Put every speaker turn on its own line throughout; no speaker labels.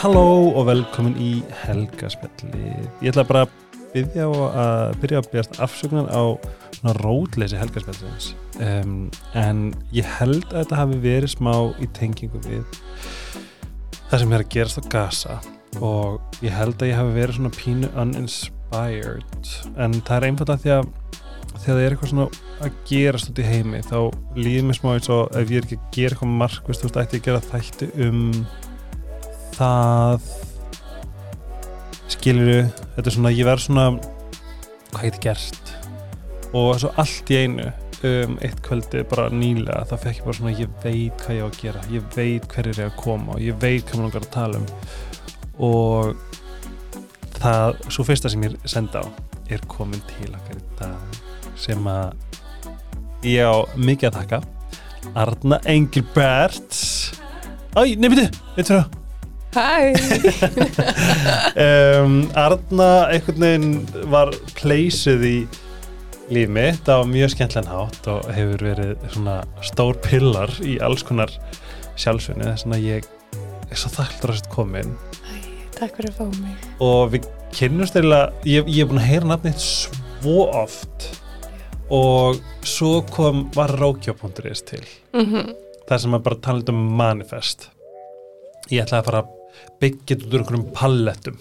Halló og velkomin í Helgaspjalli. Ég ætla bara að byrja á að byrja að byrjast afsökunar á svona rótleysi Helgaspjallins. Um, en ég held að þetta hafi verið smá í tengingu við það sem er að gerast á Gaza og ég held að ég hafi verið svona pínu uninspired en það er einfallega því að þegar það er eitthvað svona að gerast út í heimi þá líður mér smá eins og ef ég er ekki að gera eitthvað markvist, þú veist, ætti ég að gera þætti um það skilur þetta er svona, ég verð svona hvað geti gert og svo allt í einu um, eitt kvöldi bara nýlega það fekk ég bara svona, ég veit hvað ég á að gera ég veit hver er ég að koma og ég veit hvað maður langar að tala um og það, svo fyrsta sem ég senda á er komin til okkar í dag sem að ég á mikið að taka Arna Engilbert Æ, nei, býttu, eitt fyrir
Hæ,
um, Arna einhvern veginn var pleysið í líf mitt á mjög skemmtlan hátt og hefur verið svona stór pillar í alls konar sjálfsvinni þess að ég er svo þakktur að þetta komin
takk fyrir að fá mig
og við kynnumst eða ég, ég er búin að heyra nafnið svo oft og svo kom var rákjá.is til
mm
Mhm. það sem að bara tala um manifest ég ætlaði að fara að byggja þetta út úr einhverjum pallettum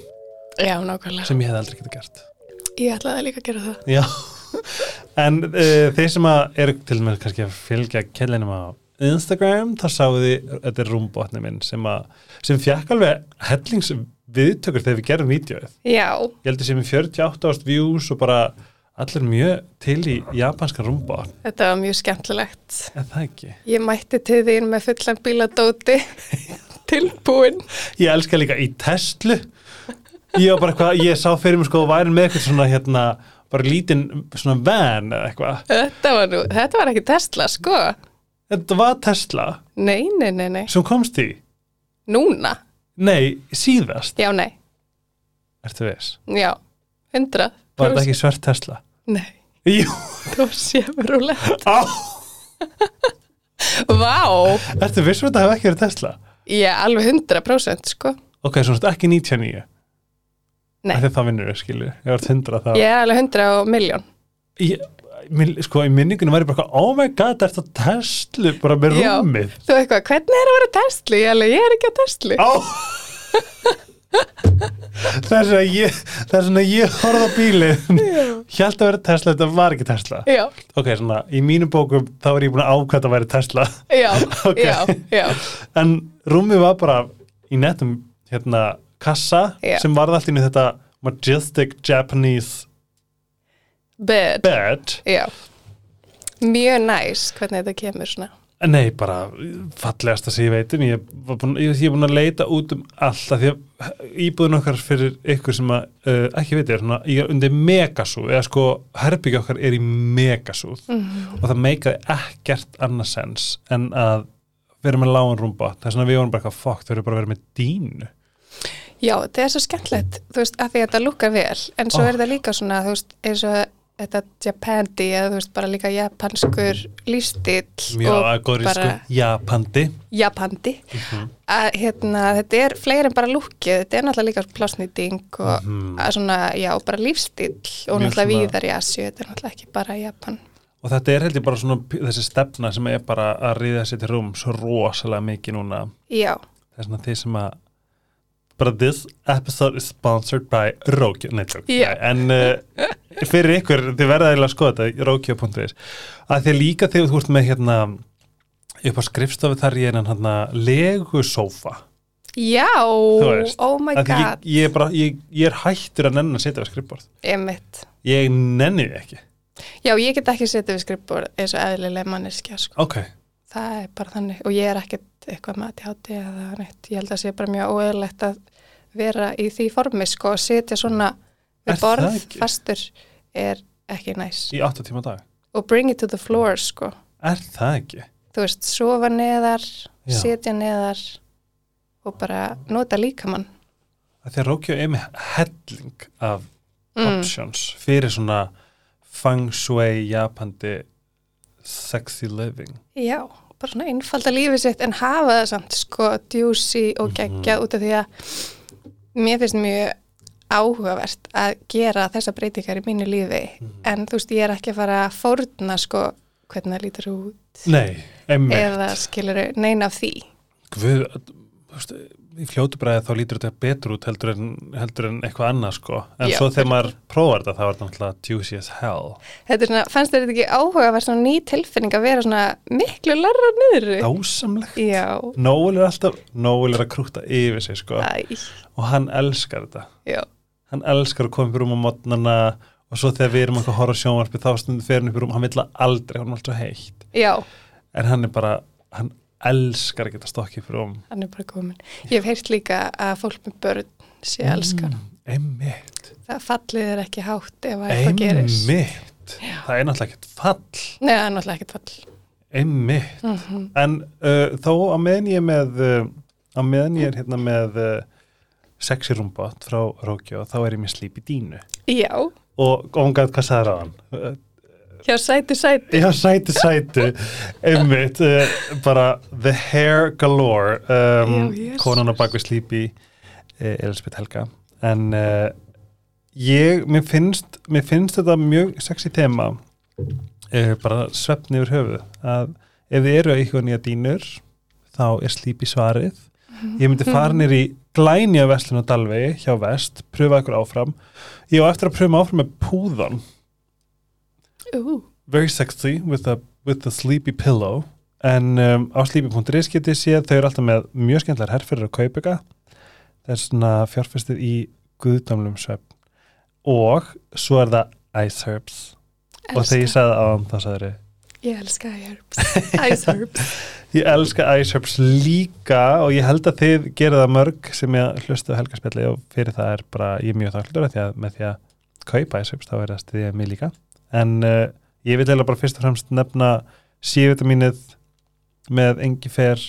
Já, nákvæmlega
sem ég hef aldrei getið gert
Ég ætlaði líka að gera það
Já, en uh, þeir sem að eru til með kannski að fylgja kellinum á Instagram, þá sáu því þetta er rúmbotni minn sem, að, sem fjekk alveg hellings viðtökur þegar við gerum vídeoið.
Já,
Ég heldur sem í 48 ást views og bara allir mjög til í japanska rúmbotn,
þetta var mjög skemmtilegt
er það ekki?
Ég mætti til þín með fullan bíladóti tilbúin
Ég elska líka í Tesla Ég var bara eitthvað, ég sá fyrir mig sko væri með eitthvað svona hérna bara lítinn svona van eða eitthvað
Þetta var nú, þetta var ekki Tesla, sko
Þetta var Tesla
Nei, nei, nei, nei,
sem komst í
núna
Nei, síðast
Já, nei,
Ertu viss?
já, hundra
Var þetta ekki svört Tesla?
Nei,
Jú,
þú séum rúlega
á,
Vá,
ertu viss um að þetta hef ekki verið Tesla?
ég alveg hundra prósent, sko
Ok, svo þetta ekki 99
Nei.
Af því að Það vinnur við skilju, ég var 100 þá
Ég er alveg hundra og miljón
ég, minn, Sko, í minningunum var ég bara eitthvað, Oh my god, ertu á Tesla bara með
Já.
rúmið
Þú eitthvað, hvernig er að vera Tesla? Ég, alveg, ég er ekki að Tesla
Á Þess að ég Þess að ég horfði á bílið Hjælt að vera Tesla, þetta var ekki Tesla
Já,
Ok, svona, í mínum bókum þá er ég búin að ákvæða að vera Tesla
já,
Ok.
já, já
En rúmið var bara í nettum hérna, kassa
Já.
sem varð allt inn í þetta Majestic Japanese
bed,
bed
já mjög næs hvernig þetta kemur svona
En Nei, bara fallegasta sem ég veit um ég, var búin, ég, ég er búin að leita út um allt af því að eh, íbúðin okkar fyrir ykkur sem að, uh, ekki veit er svona, ég er undir megasúð eða sko herbyggja okkar er í megasúð
Mhm.
og það meikaði ekkert annarsens en að vera með lágan rúmba það er svona að við vorum bara eitthvað fokk, þau eru bara að vera með dínu
já, þetta er svo skemmtilegt þú veist, að því að þetta lukkar vel en svo
Oh.
er þetta líka svona, þú veist, eins og þetta japandi eða þú veist, bara líka japanskur lífstíll
mjög
og
að góðri
bara
sko japandi
japandi
Mhm.
að hérna, þetta er fleiri en bara lukkið þetta er náttúrulega líka plásnýting og að svona, já, bara lífstíll og
Mhm. Mjög
náttúrulega
svona-
víðar í Asju þetta er náttúrulega ekki bara Japan
og þetta er heldur bara svona p- þessi stefna sem er bara að ríða sér til rúm svo rosalega mikið núna
já,
það er svona þeir sem að bara this episode is sponsored by Rókjó, nei, tjók,
Já.
nei en uh, fyrir ykkur, þið verða eiginlega að skoða þetta Rókjó.is, að því líka þegar þú ert með hérna upp á skrifstofu þar ég er hann hérna legusófa,
já,
veist,
oh my
að því
god
ég, ég, er bara, ég, ég er hættur að nennan að setja við skrifborð
emitt
ég nenni því ekki
Já, ég get ekki setið við skrifbúr eins og eðlileg manneskja, sko.
ok,
Það er bara þannig og ég er ekkert eitthvað með ADHD eða neitt. Ég held að það sé bara mjög óeðlegt að vera í því formi, sko, að setja svona
Er
við
það
borð
ekki?
fastur er ekki næs.
í 8 tíma á dag
Og bring it to the floor, sko.
er það ekki?
Þú veist, sofa neðar,
Já.
setja neðar og bara nota líkamann.
að því að Rókjó er með helling af
Mm.
options fyrir svona feng shui japandi sexy living
Já, bara svona einfalda lífið sitt en hafa það samt sko djúsi og geggjað út af því að mér finnst mjög áhugavert að gera þessa breytingar í mínu lífi en þú veist ég er ekki að fara að fórna sko hvernig það lítur út
Nei, emmi
eða skiluru neina af því
Guð, þú veist, í fljótu bræði þá lítur þetta betur út heldur en, heldur en eitthvað annað sko en
Já,
svo þegar
fyrir-
maður prófar þetta þá er þetta náttúrulega juicy as hell
Þetta er svona, fannst þér þetta ekki áhugavert svona ný tilfinning að vera svona miklu larra niður
dásamlegt
Já,
Nóel er alltaf, Nóel er að krúta yfir sig sko
æ,
og hann elskar þetta
já
hann elskar að koma upp í rúm á modnana og svo þegar við erum eitthvað að horfa á sjónvarpi þá stundum fer hann upp í rúm, hann vil það aldrei hann er alltaf heitt,
Já,
en hann er bara hann elskar að geta stokkið upp í rúm
hann er bara komin Ég hef heyrt líka að fólk með börn sé
Mm.
að elska hann.
Einmitt,
Það fallið er ekki hátt ef að eitthvað gerist
einmitt það er náttúrulega ekkert fall
Nei, það er náttúrulega ekkert Mhm. fall
einmitt en uh, þó að meðan ég er með uh, að meðan ég er hérna með uh, sexy rúmbot frá Rókjó þá er ég með slíp í dínu
Já,
og omgæð hvað sagði ráðan uh,
hjá sæti sæti
já sæti sæti einmitt uh, bara the hair galore um,
Já, Jesus.
konan á bakvið slíp í uh, Elisabeth Helga en uh, ég, mér finnst mér finnst þetta mjög sexy tema uh, bara svefni yfir höfuð að ef þið eru eitthvað nýja dýnur þá er slíp í svarið ég
Mhm.
myndi fara nýr í glænja verslun á Dalvegi hjá Vest, pröfa ykkur áfram ég á eftir að pröfa mig áfram með púðan
Ú,
very sexy with a, with a sleepy pillow en um, á sleepy.is getið séð þau eru alltaf með mjög skemmtlar herrferður að kaupa ykkar það er svona fjárfestið í guðdamlum svefn og svo er það ice herbs og þegar ég
elska
sagði á hann þá sagði þau
Ég elska herbs Ice herbs
Ég elska Ice Herbs líka og ég held að þið gera það mörg sem ég hlustu á helgarspjalli og fyrir það er bara, ég er mjög þakklútur því að með því að kaupa Ice Herbs þá er það stiðið mig líka en uh, ég vil eiginlega bara fyrst og fremst nefna C-vitaminið með engifer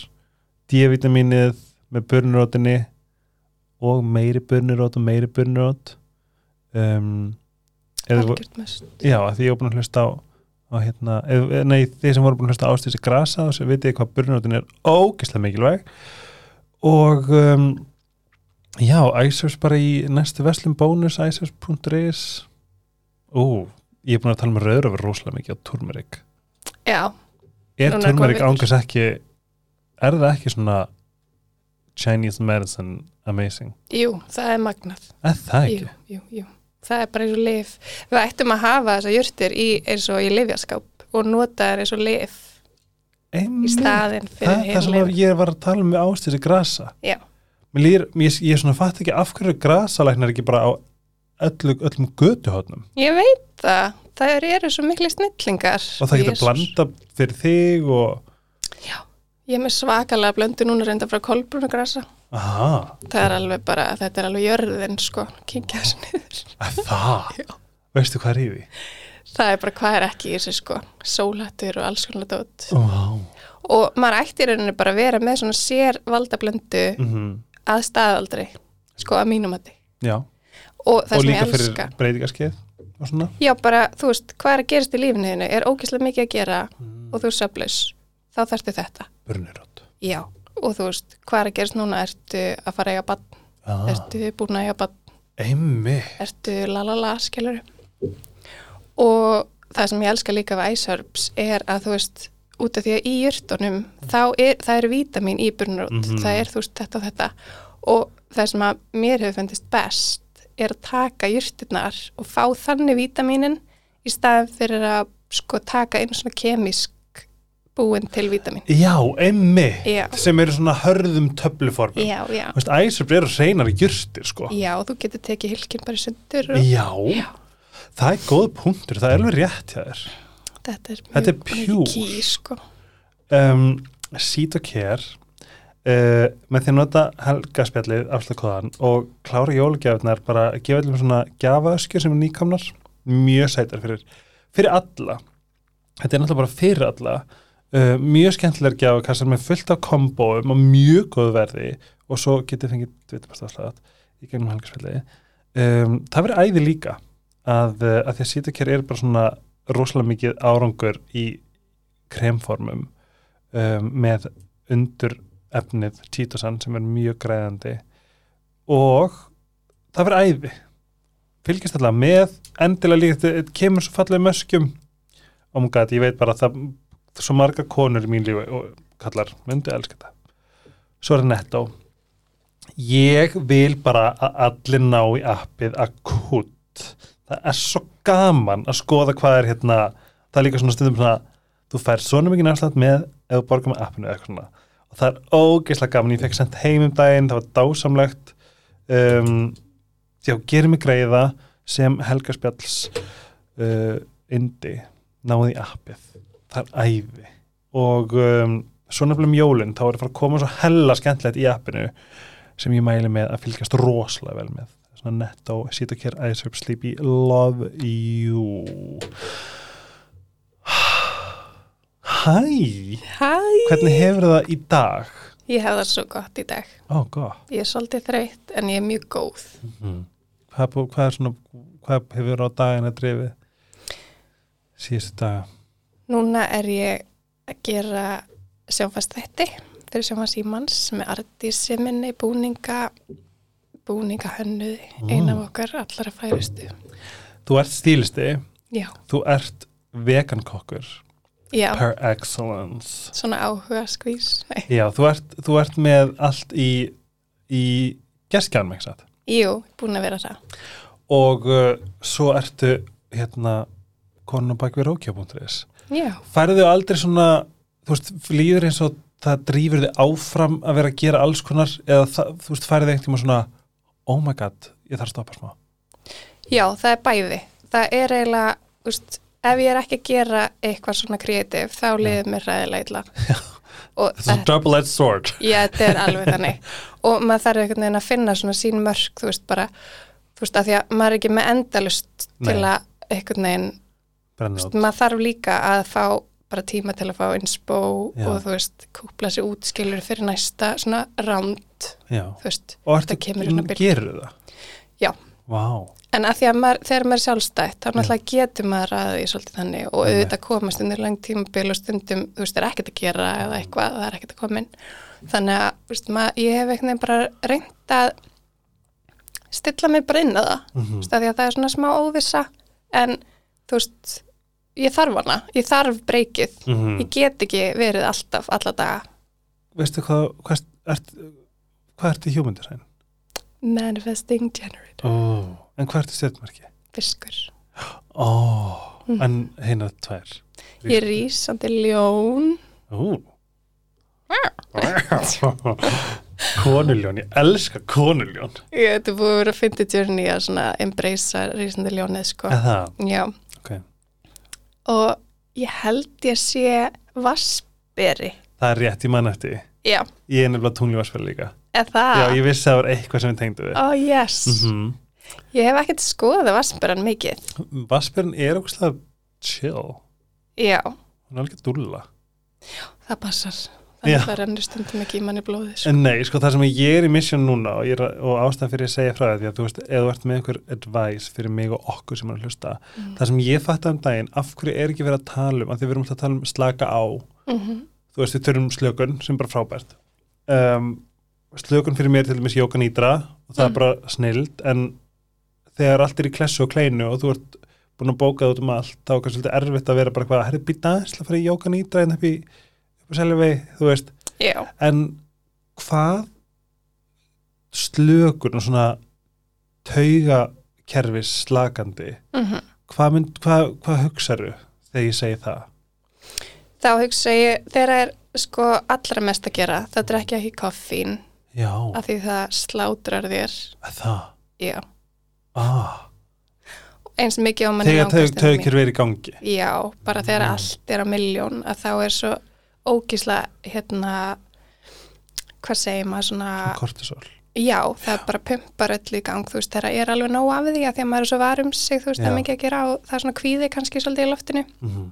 D-vitaminið með burnurótinni og meiri burnurót og meiri burnurót um, ef þið-
Algjört mest
Já, af því ég var búin að hlusta á, á hérna, ef, nei, þeir sem voru búin að hlusta á ástísi grasa og sem vitið hvað burnotin er ógeðslega mikilvæg og um, já, Æsers bara í næstu veslum bónus, æsers.is Ú, ég er búin að tala með rauðröfur rosalega mikið á turmerik
Já,
Er
Núna er
turmerik
komið
ángas ekki er það ekki svona Chinese medicine amazing?
jú, það er magnað
Er það ekki?
jú, jú, jú. Það er bara eins og lif. Við ættum að hafa þessar jurtir í, eins og í lifjaskáp og nota þær eins og lif í
Einmitt.
staðinn fyrir
Það, það sem að
heimleif.
ég var að tala um með ástísi grasa
Já,
Mér líður, ég, ég svona fatt ekki af hverju grasalæknar ekki bara á öllu, öllum götuhotnum
ég veit það. Það eru svo miklu snillingar.
og það getur
Jesús.
blanda fyrir þig og
Ég er með svakalega blöndu núna reynda frá kolbrunagrasa.
aha,
Það er alveg bara, þetta er alveg jörðin, sko, kynkja þessu niður.
að það veistu hvað er í því?
Það er bara hvað er ekki í þessu, sko, sólættur og alls konar dót.
Wow.
Og maður ætti í rauninni bara að vera með svona sér valda blöndu
Mm
að staðaldri, sko, að mínum að
Já,
Og það
og
sem ég
líka
elska.
fyrir breytingarskeið og svona
Já, bara, þú veist, hvað er að gerast í lífinu þínu? Er ógeðslega mikið að gera og þú er söflaus, þá þarftu þetta.
burnirótt
Já. Og þú veist, hvað er að gerast núna? Ertu að fara að eiga bann?
ah,
Ertu búin að eiga bann?
Einmi
Ertu lalala, skilur? Og það sem ég elska líka við æsarps er að þú veist, út af því að í jörtunum, þá er, það er vítamin í burnarót.
Mhm.
Það er, þú veist, þetta og þetta. Og það sem að mér hefur fundist best er að taka jurtirnar og fá þannig vítaminin í staðin fyrir að sko taka einu svona kemísk búin til vítamin.
Já, einmi
Já.
sem eru svona hörðum töfluformum
Já, já.
Veist, Æsir eru reynar jurtir sko
Já, þú getur tekið hilkinn bara í sundur og
Já. það er góð punktur, það er alveg rétt hjá þér
þetta er
Þetta er pure.
mikið ký, sko.
um, Seat og Care uh, með því að nota helgaspjallið afslagkóðan og klára jólgjafnar bara að gefa allir svona gjafaöskjur sem er nýkamnar mjög sætar fyrir, fyrir alla þetta er náttúrulega bara fyrir alla uh, mjög skemmtilegar gjafakassar með fullt af kombóum og mjög góð verði og svo getið fengið dvitapastafslæðat í gegnum helgaspjallið um, það verður æði líka að, uh, að því að Seat og Care er bara svona rosalega mikið árangur í kremformum um, með undur efnið títosan sem er mjög græðandi og það verður æði fylgist alltaf með endilega líka þetta kemur svo fallega möskjum og mjög gæti, ég veit bara að það svo marga konur í mín lífi og kallar, myndu elska þetta svo er það nettó ég vil bara að allir ná í appið akkutt það er svo gaman að skoða hvað er hérna það er líka svona stundum svona þú fær svona mikið afslátt með ef þú borgar með appinu eða eitthvað svona og það er ógeðslega gaman, ég fekk sendt heim um daginn það var dásamlegt um, já, gerir mig greiða sem Helga Spjalls uh, indi náði í appið, það er æði og um, svona blum jólin þá er það fara að koma svo hella skemmtilegt í appinu sem ég mæli með að fylgjast rosalega vel með svona netto, sit og kér, ice up, sleepy love you Hæ
Hæ!
Hvernig hefur það í dag?
Ég hef það svo gott í dag.
Ó, gott
Ég er svolítið þreytt en ég er mjög góð.
hvað, er bú- hvað er svona, hvað hefur á dagina drifið? Síðustu daga
Núna er ég að gera sjónfast þetta fyrir sjónfast ímanns sem er artísi minni búninga búningahönnuði,
Mm.
eina af okkar allara færustu.
Þú ert stílisti,
Já,
þú ert vegankokkur
já,
per excellence
svona áhuga skvís. Nei.
Já, þú ert, þú ert með allt í, í geskjanum, ekki satt?
Jú, búin að vera það.
Og uh, svo ertu hérna konun og bak við rókja.is
Já,
færðu aldrei svona þú veist, líður eins og það drýfur þig áfram að vera að gera alls konar eða það, þú veist, færðu einhvern tíma svona oh my god, ég þarf að stoppa smá
já, það er bæði. Það er eiginlega, úst, ef ég er ekki að gera eitthvað svona kreatív, þá liðið mér ræðilega illa. Og
þetta er double-edged sword
Já, þetta er alveg þannig. Og maður þarf einhvern veginn að finna svona sín mörk, þú veist, bara, þú veist, að því að maður er ekki með endalust til
Nei.
að einhvern veginn,
brennir út,
maður þarf líka að fá bara tíma til að fá innspó
Já.
og þú veist, kúpla sér út, skilur fyrir næsta svona ránd,
já
þú veist,
og ertu,
það kemur svona byrja.
gerur það
Já,
wow.
en að því að maður, þegar maður er sjálfstætt, þá náttúrulega getur maður að því svolítið þannig og auðvitað komast undir langt tímabil og stundum, þú veist, er ekkert að gera eða eitthvað, það er ekkert að koma inn. Þannig að, þú veist, maður, ég hef einhvern veginn bara reynd að stilla mig bara inn að það, þú
Mhm.
veist, að því að það er svona smá óvissa, en þú veist, ég þarf hana, ég þarf breykið,
Mhm.
ég get ekki verið alltaf, alla daga,
veistu hvað hvað ert, hvað ertu human design?
manifesting generator,
Oh. en hvað ertu stjörnmerki?
fiskur.
Oh. en hérna tvær
Ég er rísandi ljón,
Ú. konuljón, ég elska konuljón
Ég þetta er búið að vera að fyndi journey að svona embracea rísandi ljónið sko.
eða,
Já,
ok
og ég held ég sé vassberi.
Það er rétt, ég man eftir því.
Já,
Ég er nefnilega tungljóðsfæri líka.
eða það?
Já, ég vissi að það var eitthvað sem ég tengdi við.
Oh yes,
Mm.
ég hef ekkert skoðað vassberan mikið.
Vassbjörn er ógustlega chill.
Já,
Hún er alveg dúlla.
það passar.
Já.
Þannig það rennur stundum ekki í manni blóðið sko.
En nei, sko það sem ég er í mission núna og, ég er, að- og ástæðan fyrir ég segja frá því að þú veist, ef þú ert með einhver advice fyrir mig og okkur sem er að hlusta, það sem ég fattaði um daginn, af hverju er ekki verið að tala um, af því við erum alltaf að tala um slaka á,
Mm -hmm.
þú veist, við törum slökun sem er bara frábært. Um, slökun fyrir mér er til dæmis jókan ídra og það er bara snild, en þegar allt er í klessu og kleinu og þú ert búin að bóka það út um allt, þá er kannski svolítið erfitt að vera bara hvað, herri, býta aðeins til að fara í jókan ídra en upp í, upp í selvi, þú veist,
Já,
en hvað slökun og svona taugakerfis slakandi,
mm
hvað, mynd, hvað, hvað hugsaðu þegar ég segi það?
þá hugsa ég, þeirra er sko allra mest að gera, það drekja ekki koffín
Já,
af því það slátrar þér,
það,
já,
ah.
eins mikið á manni
þegar
langast
taug,
en mér.
taukir verið í gangi
Já, bara þegar
Mm.
allt er á miljón að þá er svo ógísla hérna hvað segir maður svona
Um kortisol
já, það bara pumpar öll í gang þú veist, þegar er alveg nóg af því að því að maður er svo varum sig, þú veist, það
Já.
er mikið að gera og það er svona kvíði kannski svolítið í loftinu
mm -hmm.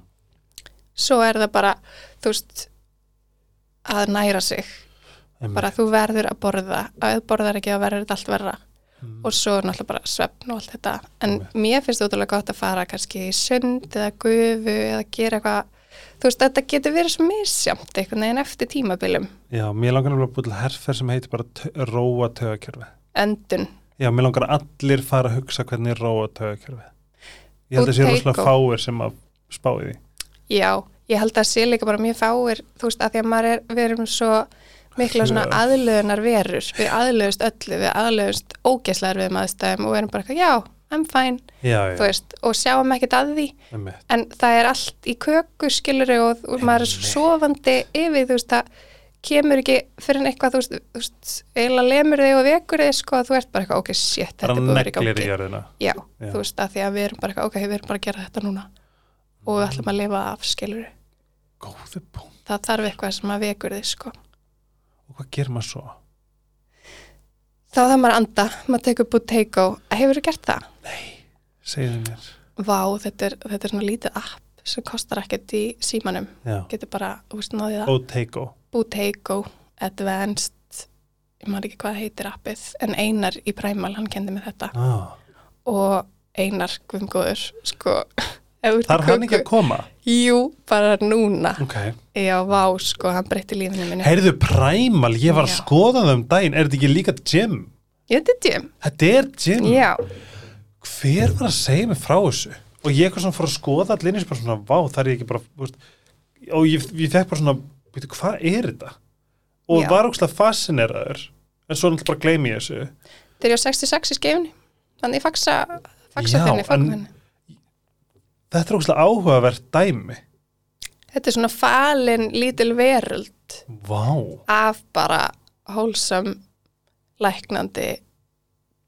svo er það bara, þú veist að næra sig
Mm.
bara þú verður að borða ef þú borðar ekki þá verður þetta allt verra
Mm.
og svo er náttúrulega bara svefn og allt þetta en
Einmitt.
mér finnst þetta útrúlega gott að fara kannski í sund eða gufu eða gera eitthvað þú veist, þetta getur verið svo misjamt einhvern veginn eftir tímabilum
Já, mér langar nefnilega að búið til herfer sem heitir bara tö- róa tögakerfi.
öndun,
Já, mér langar að allir fara að hugsa hvernig róa tögakerfi. Ég held að sé
Potato.
rosalega fáir sem að spá í því.
já, ég held að sé líka bara mjög fáir, þú veist, að því að maður er við erum svo mikla svona
Já.
aðlöðunar verur, við aðlöðust öllu við aðlöðust ógeslar við maðurstæðum og við erum bara, eitthvað, já, I'm fine
Já,
þú
já,
veist, og sjáum ekkert að því
emmitt.
en það er allt í köku skilur og, og maður er svo sofandi yfir þú veist, það kemur ekki fyrir en eitthvað, þú veist, þú veist eiginlega lemur þig og vekur þig, sko, þú ert bara eitthvað, ok, shit, þetta
Bara
er búið að vera í
neglir
gangi
í jörðina.
já,
Já.
þú veist, að því að við erum bara eitthvað, ok, við erum bara að gera þetta núna og við ætlum að lifa af, skilur
Góði búm.
það þarf eitthvað sem að vekur þig, sko
Og hvað gerir maður svo?
þá þarf maður að anda, maður tekur búið teiko hefur þú gert það?
Segðu mér.
Vá, þetta er, þetta er svona lítið app sem kostar ekkert í símanum
Já.
getur bara, þú veist, náðið að
Og take-o.
Boutego Advanced ég maður ekki hvað heitir appið en Einar í Primal, hann kendi mig þetta
Ah.
og Einar Guðmgóður sko, ef þú ert í
Þarf hann ekki að
köku-
koma?
Jú, bara núna
Ok.
Já, vá, sko, hann breytti lífinu minni
Heyrðu, Primal, ég var að
Já.
skoða það um daginn. Er þetta ekki líka gym?
Ég þetta ég,
Þetta er gym.
já
Hver var að segja mig frá þessu? Og ég eitthvað svona fór að skoða allir eins og bara svona, vá, það er ég ekki bara, þú veist, og ég, ég fekk bara svona, veitu, hvað er þetta? Og
Já.
var ógstlega fascineraður, en svo náttúrulega bara gleymi ég þessu.
Þeir eru á 66 í skefinni Þannig ég faksa,
Já,
faksa þenni,
en-
faksa þenni
Þetta er ógstlega áhugavert dæmi.
Þetta er svona falin lítil veröld
Vá.
af bara hólsam læknandi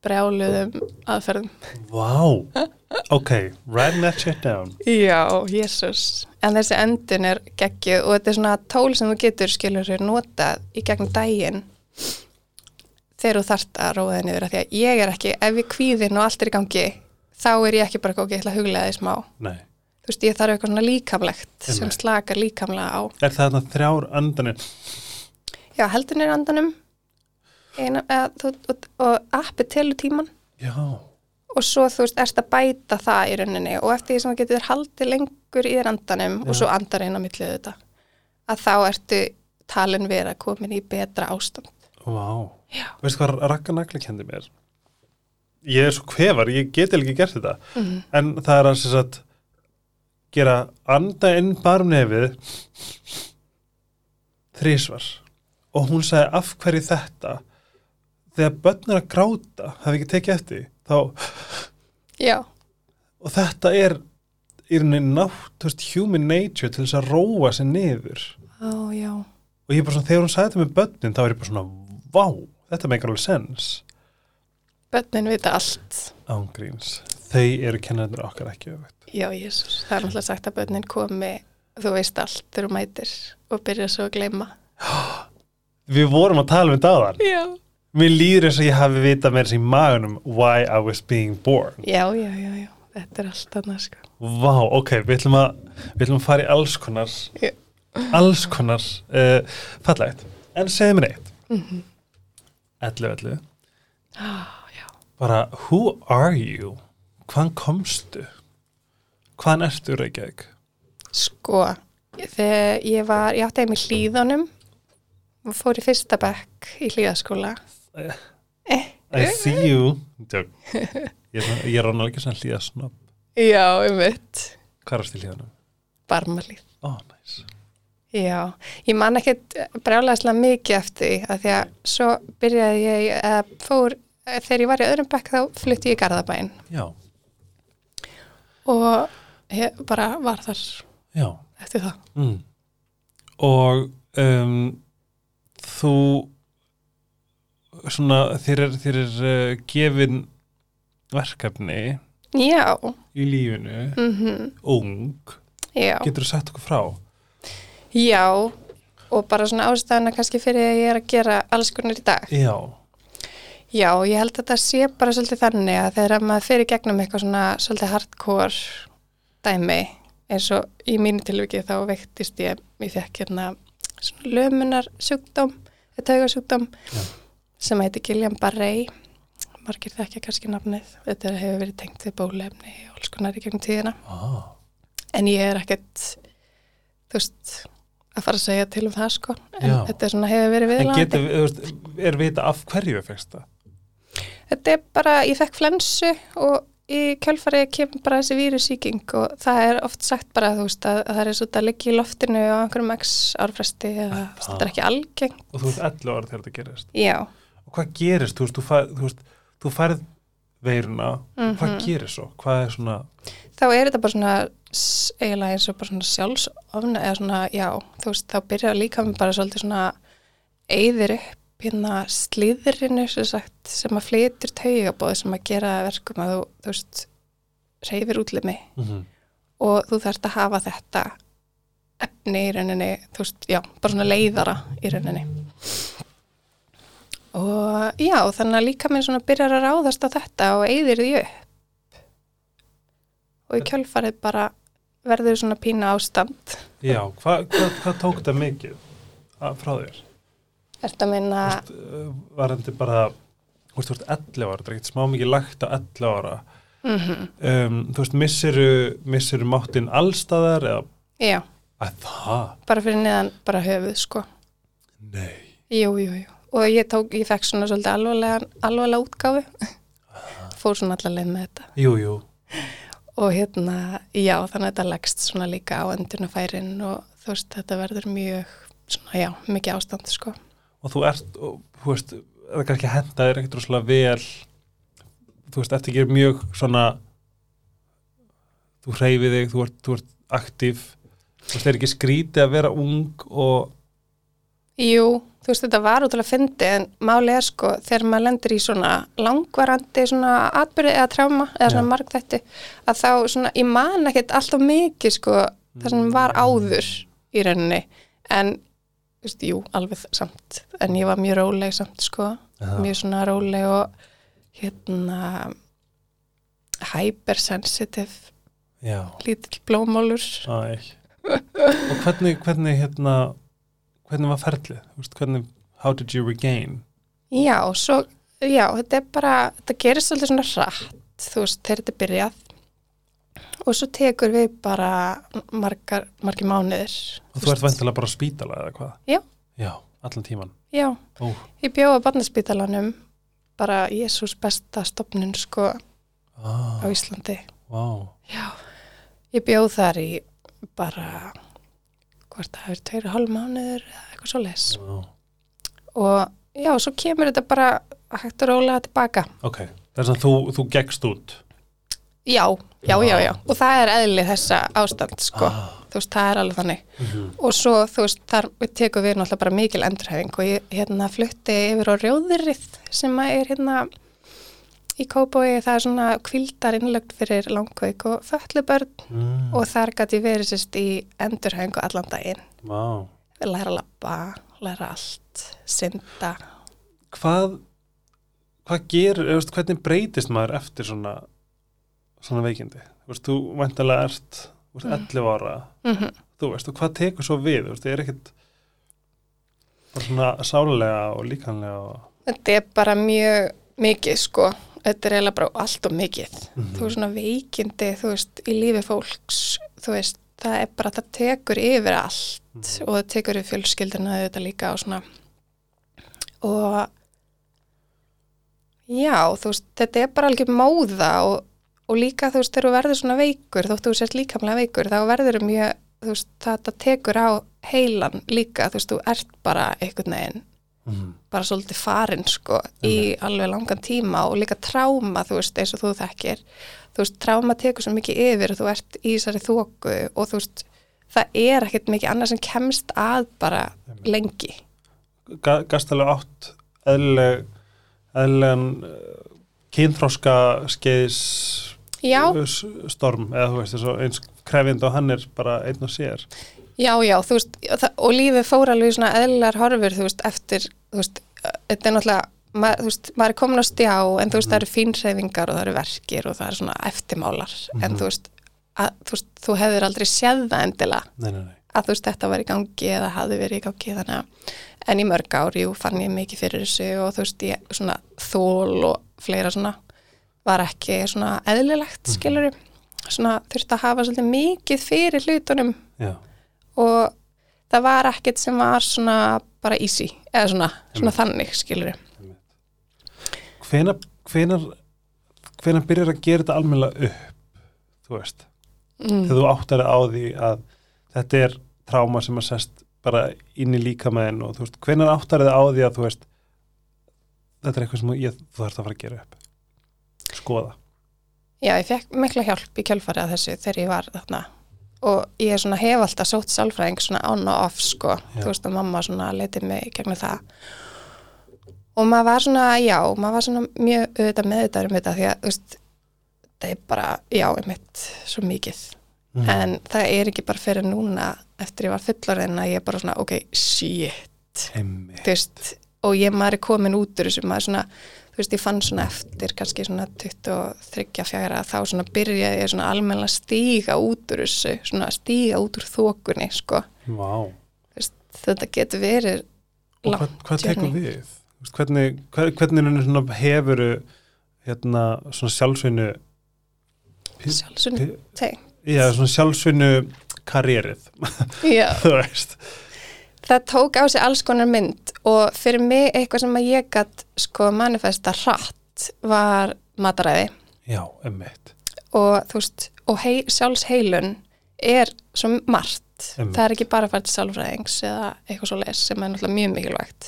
brjáluðum aðferðum
Vá. Ok, writing that shit down.
Já, jésus. En þessi öndun er geggjuð og þetta er svona tól sem þú getur skilur þér notað í gegnum daginn þegar þú þart að róða þig niður. af Því að ég er ekki, ef ég kvíðin og allt er í gangi, þá er ég ekki bara góð, ég ætla að huglega því smá.
Nei.
Þú veist, ég þarf eitthvað svona líkamlegt sem
Einmitt.
slakar líkamlega á.
Er það þarna þrjár andanir?
Já, heldur niður andanum eina, eða, þú, og, og appi telur tíman
Já.
og svo þú veist, ert að bæta það í rauninni og eftir því sem þú getur haldið lengur í þér andanum og svo andar inn á millið þetta að þá ertu talin vera komin í betra ástand
Vá.
Já.
Veistu hvað rakka nagli kendi mér? Ég er svo kvefar, ég geti ekki gert þetta.
Mhm.
En það er að sem sagt, gera anda inn bara um nefið þrísvar. Og hún sagði af hverju þetta? Þegar börn er að gráta, hafi ekki tekið eftir, því, þá,
Já,
og þetta er í rauninni nátt, þú veist, human nature til þess að róa sér niður.
ó já
og ég bara svona, þegar hún sagði þetta með börnin þá er ég bara svona, vá, þetta meikar alveg sens
Bönnin vita allt
ángríns, þau eru kennarnir okkar ekki öfugt.
Já, Jésús, það er náttúrulega sagt að bönnin komi þú veist allt þegar þú mætir og byrja svo að gleyma
Við vorum að tala um dáðan
Já,
Mér líður eins og ég hafi vitað með þessi í magunum why I was being born
já, já, já, já. þetta er allt annað sko
Vá, ok, við ætlum að við ætlum að fara í alls konar
Já.
alls konar uh, fallegt, en segðu mér eitt ellu, ellu
Á, Já,
bara, who are you? Hvaðan komstu? Hvaðan ertu, Reykjavík?
Sko, þegar ég var, ég átti heim í hlýðunum og fór í fyrsta bekk í Eh. hlýðaskóla.
I see you Tjók. Ég er svona- ég er rána ekki svona hlýða snobb
Já, um veit.
Hvað er stil hlýðanum?
Barmalíð.
Ó, oh, næs
Já, ég man ekkert brjálæðislega mikið eftir því að því að svo byrjaði ég, eða fór, þegar ég var í öðrum bekk þá flutti ég í Garðabæn
Já,
og ég bara var þar
já
eftir það.
mm. Og um, þú svona þér er, þér er uh, gefin verkefni
Já,
í lífinu
mm
ung,
já.
getur þú sagt okkur frá
Já, og bara svona ástæðana kannski fyrir að ég er að gera alls konar í dag.
Já,
Já, ég held að það sé bara svolítið þannig að þegar maður fyrir gegnum eitthvað svona svolítið hardcore dæmi eins og í mínu tilviki þá veiktist ég, ég fekk hérna svona lömunar sjúkdóm, taugasjúkdóm
Já.
sem heiti Gillian Barrey, margir þekkja kannski nafnið, þetta hefur verið tengt við bólefni og alls konar í gegnum tíðina
ah,
en ég er ekkert þú veist, að fara að segja til um það sko, en
Já.
þetta er svona hefur
En
verið viðlandi.
getur, þú veist, er vita af hverju fegst það?
Þetta er bara, ég fekk flensu og í kjölfarið kemur bara þessi vírussýking og það er oft sagt bara þú veist að, að það er svo að liggja í loftinu á einhverjum x árfresti eða þú veist, þetta er ekki algengt.
Og þú veist 11 ára þegar þetta gerist.
Já,
Og hvað gerist, þú veist, þú, fær, þú, veist, þú færð veiruna, hvað gerist svo? Hvað er svona,
Mhm. þá er þetta bara svona s- eiginlega eins og bara svona sjálfsofna eða svona, já, þú veist, þá byrjar líka með bara svolítið svona eyðir upp hérna slíðrinu sem sagt, sem að flytur taugabóð sem að gera að verkum að þú, þú veist, reyfir útlimi
mm
og þú þarft að hafa þetta efni í rauninni, þú veist, já, bara svona leiðara í rauninni. Og já, þannig að líka minn svona byrjar að ráðast á þetta og eyðir því upp. Og í kjölfarið bara verður svona pína ástand.
já, hvað hva, hva tók þetta mikið að- frá þér?
Þetta minna,
Þú veist, uh, var þetta bara þú veist, þú veist, 11 ára, það er ekkert smá mikið lagt á 11 ára
Mhm.
um, þú veist, missiru, missiru máttinn allstaðar eða
já,
að það,
bara fyrir neðan bara höfuð, sko.
nei
Jú, jú, jú. Og ég tók, ég fekk svona svolítið alvarlega, alvarlega útgáfu. Fór svona allar leið með þetta.
jú, jú,
og hérna, já, þannig að þetta leggst svona líka á endurnafærin og þú veist, þetta verður mjög svona, já, mikið ástand, sko.
og þú ert og, þú veist, það er kannski henda þér ekkert rosalega vel þú veist, eftir ekki mjög svona þú hreyfið þig, þú ert, þú ert aktíf þú veist, er ekki skrítið að vera ung og,
Jú, þú veist, þetta var útrúlega fyndi en máli er, sko, þegar maður lendir í svona langvarandi svona atbyrði eða tráma eða svona
Já.
margþætti að þá svona, ég man ekkert alltaf mikið, sko, það sem var
Mm.
áður í rauninni, en þú veist, jú, alveg samt en ég var mjög róleg samt, sko mjög svona róleg og hérna hypersensitive
já
lítill blómálur
Æ. Og hvernig, hvernig hérna, hvernig var ferlið? Þú veist, Hvernig, how did you regain?
já, svo, já, þetta er bara þetta gerir svolítið svona rætt þú veist, þegar þetta er byrjað og svo tekur við bara margar, margir mánuðir
Og þú ert væntalega bara á spítala eða hvað?
Já.
Já, allan tíman.
já,
Ó,
ég bjóða barnaspítalanum bara Jésús besta stopnun sko á
ah,
Íslandi
vá.
Já, ég bjóð þar í bara hvort það hefur tveir og hálf mánuður eða eitthvað svo les.
vá.
Og já, svo kemur þetta bara hægt og rólega tilbaka.
Ok, þess að þú, þú gekkst út.
Já, já,
Vá.
já, já. Og það er eðli þessa ástand, sko.
Ah.
Þú veist, það er alveg þannig.
Mhm.
Og svo, þú veist, þar tekur við náttúrulega bara mikil endurhæfing og ég hérna flutti yfir á rjóðurrið sem að er hérna í Kóbói, það er svona kvildar innlögt fyrir langveik og föllubörn
Mm.
og þar gæti ég verið sérst í endurhæfingu allan daginn
Vá.
læra að lappa, læra allt synda
Hvað, hvað gerir, eða, þú veist, hvernig breytist maður eftir svona, svona veikindi? Þú veist, þú væntalega ert, þú veist, 11 ára.
mm
þú veist, og hvað tekur svo við, þú veist, það er ekkert bara svona sálega og líkanlega og...
þetta er bara mjög mikið sko, þetta er eiginlega bara allt og mikið,
Mhm.
þú veist svona veikindi þú veist, í lífi fólks þú veist, það er bara, það tekur yfir allt
Mm.
og það tekur yfir fjölskyldina þetta líka og svona og já, þú veist, þetta er bara algjör móða og, og líka þú veist, þegar þú verður svona veikur, þóttu þú sért líkamlega veikur, þá verður þú mjög þú veist, þetta tekur á heilan líka, þú veist, þú ert bara einhvern veginn
Mhm.
bara svolítið farin sko í alveg langan tíma og líka tráma þú veist eins og þú þekkir þú veist tráma tekur svo mikið yfir og þú ert í þessari þóku og þú veist það er ekkert mikið annað sem kemst að bara lengi
Ga- gast alveg átt eðlileg eðlilegan uh, kynþroska skeiðis
já,
s- storm eða þú veist, eins og eins krefjandi og hann er bara einn og sér
já, já þú veist og það- og lífið fór alveg í svona eðlilegar horfur þú veist eftir, þú veist ö, þetta er náttúrulega Mað, þú veist, maður er komin á stjá en þú veist, það eru fínræfingar og það eru verkir og það eru svona eftirmálar en þú veist, að, þú veist, þú hefðir aldrei séð það endilega
nei, nei, nei,
að þú veist þetta var í gangi eða hafði verið í gangi þannig að en í mörg ár, jú, fann ég mikið fyrir þessu og þú veist, ég svona þól og fleira svona var ekki svona eðlilegt skilur svona þurfti að hafa svolítið mikið fyrir hlutunum
já,
og það var ekkert sem var svona bara easy eða svona, svona þannig skilur
hvenar, hvenar, hvenar byrjar að gera þetta almennilega upp þú veist,
mm.
þegar þú áttar á því að þetta er tráma sem að sest bara inn í líkamæðin og þú veist, hvenar áttar þið á því að þú veist þetta er eitthvað sem ég, þú þarfst að fara að gera upp skoða
Já, ég fekk mikla hjálp í kjölfarið af þessu þegar ég var þarna og ég er svona hef alltaf sótt sálfræðing svona on og off sko,
Já.
þú veist og mamma svona letið mig í gegnum það og maður var svona, já, maður var svona mjög auðvitað meðvitað um þetta því að, þú veist, það er bara, já, einmitt, svo mikið
Mhm.
Mm. en það er ekki bara fyrir núna eftir ég var fullorðin að ég er bara svona, ok, shit
heimi
þú veist, og ég maður er komin út úr þessu maður svona, þú veist, ég fann svona eftir kannski svona 23 fjara þá svona byrjaði ég svona almenna stíga út úr þessu, svona stíga út úr þokunni, sko
Vá.
Þú veist, þetta getur verið
Og
langt
hvað, hvað tekur
journey.
við? Þú veist, Hvernig, hver, hvernig er svona hefuru hérna, svona sjálfsveinu
sjálfsögni teng
já, svona sjálfsveinu karrierið,
Já,
þú veist
það tók á sig alls konar mynd og fyrir mig eitthvað sem að ég gætt sko manifesta hratt var mataræði
Já, emmitt
og þú veist, og hei, sjálfsheilun er svo margt
Einmitt.
það er ekki bara að fara til sálfræðings eða eitthvað svo les sem er náttúrulega mjög mikilvægt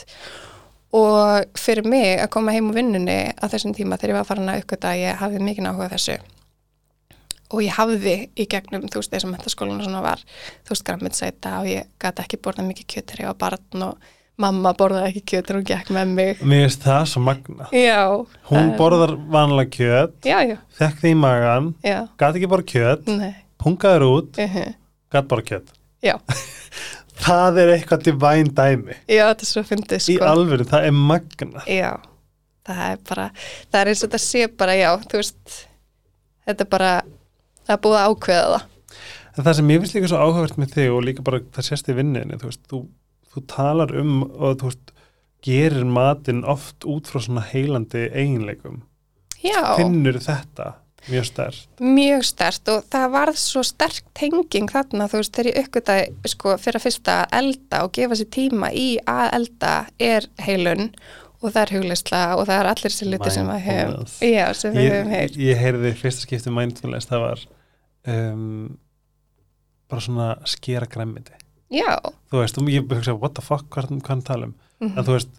og fyrir mig að koma heim úr vinnunni á þessum tíma þegar ég var farin að aukvita að ég hafði mikið náhuga þessu og ég hafði í gegnum þú veist, þessum mentaskólan svona var þú veist, grammitsæta og ég gæti ekki borðað mikið kjöt þegar ég var barn og mamma borðaði ekki kjöt þegar hún gekk með mig
Mér finnst það svo magna
já,
Hún
það-
borðar vanlega kjöt,
já, já,
fekk því í magan
já,
gat ekki bara kjöt,
nei
pungaður út
uh -huh.
gat bara kjöt
já,
Það er eitthvað divine dæmi
já, þetta er svo fyndið sko
Í alvöru, það er magna
Já, það er bara, það er eins og þetta sé bara, já, þú veist, þetta er bara, það er búið að ákveða það.
En það sem ég finnst líka svo áhugavert með þig og líka bara það sérst í vinninni, þú veist, þú, þú talar um og þú veist, gerir matinn oft út frá svona heilandi eiginleikum.
Já,
Finnur þetta mjög stærkt.
mjög stert og það varð svo sterk tenging þarna, þú veist, þegar ég aukvitaði, sko, fyrir að fyrsta að elda og gefa sér tíma í að elda er heilun og það er hugleysla og það er allir þessi luti sem við höfum,
Mindfulness.
já, sem við höfum
Ég,
heilt.
ég heyrði fyrsta skipti mindfulness, það var um, bara svona skera græmiti.
Já,
Þú veist, og ég hugsa, what the fuck, hvað, hvað hann tala um? En þú veist,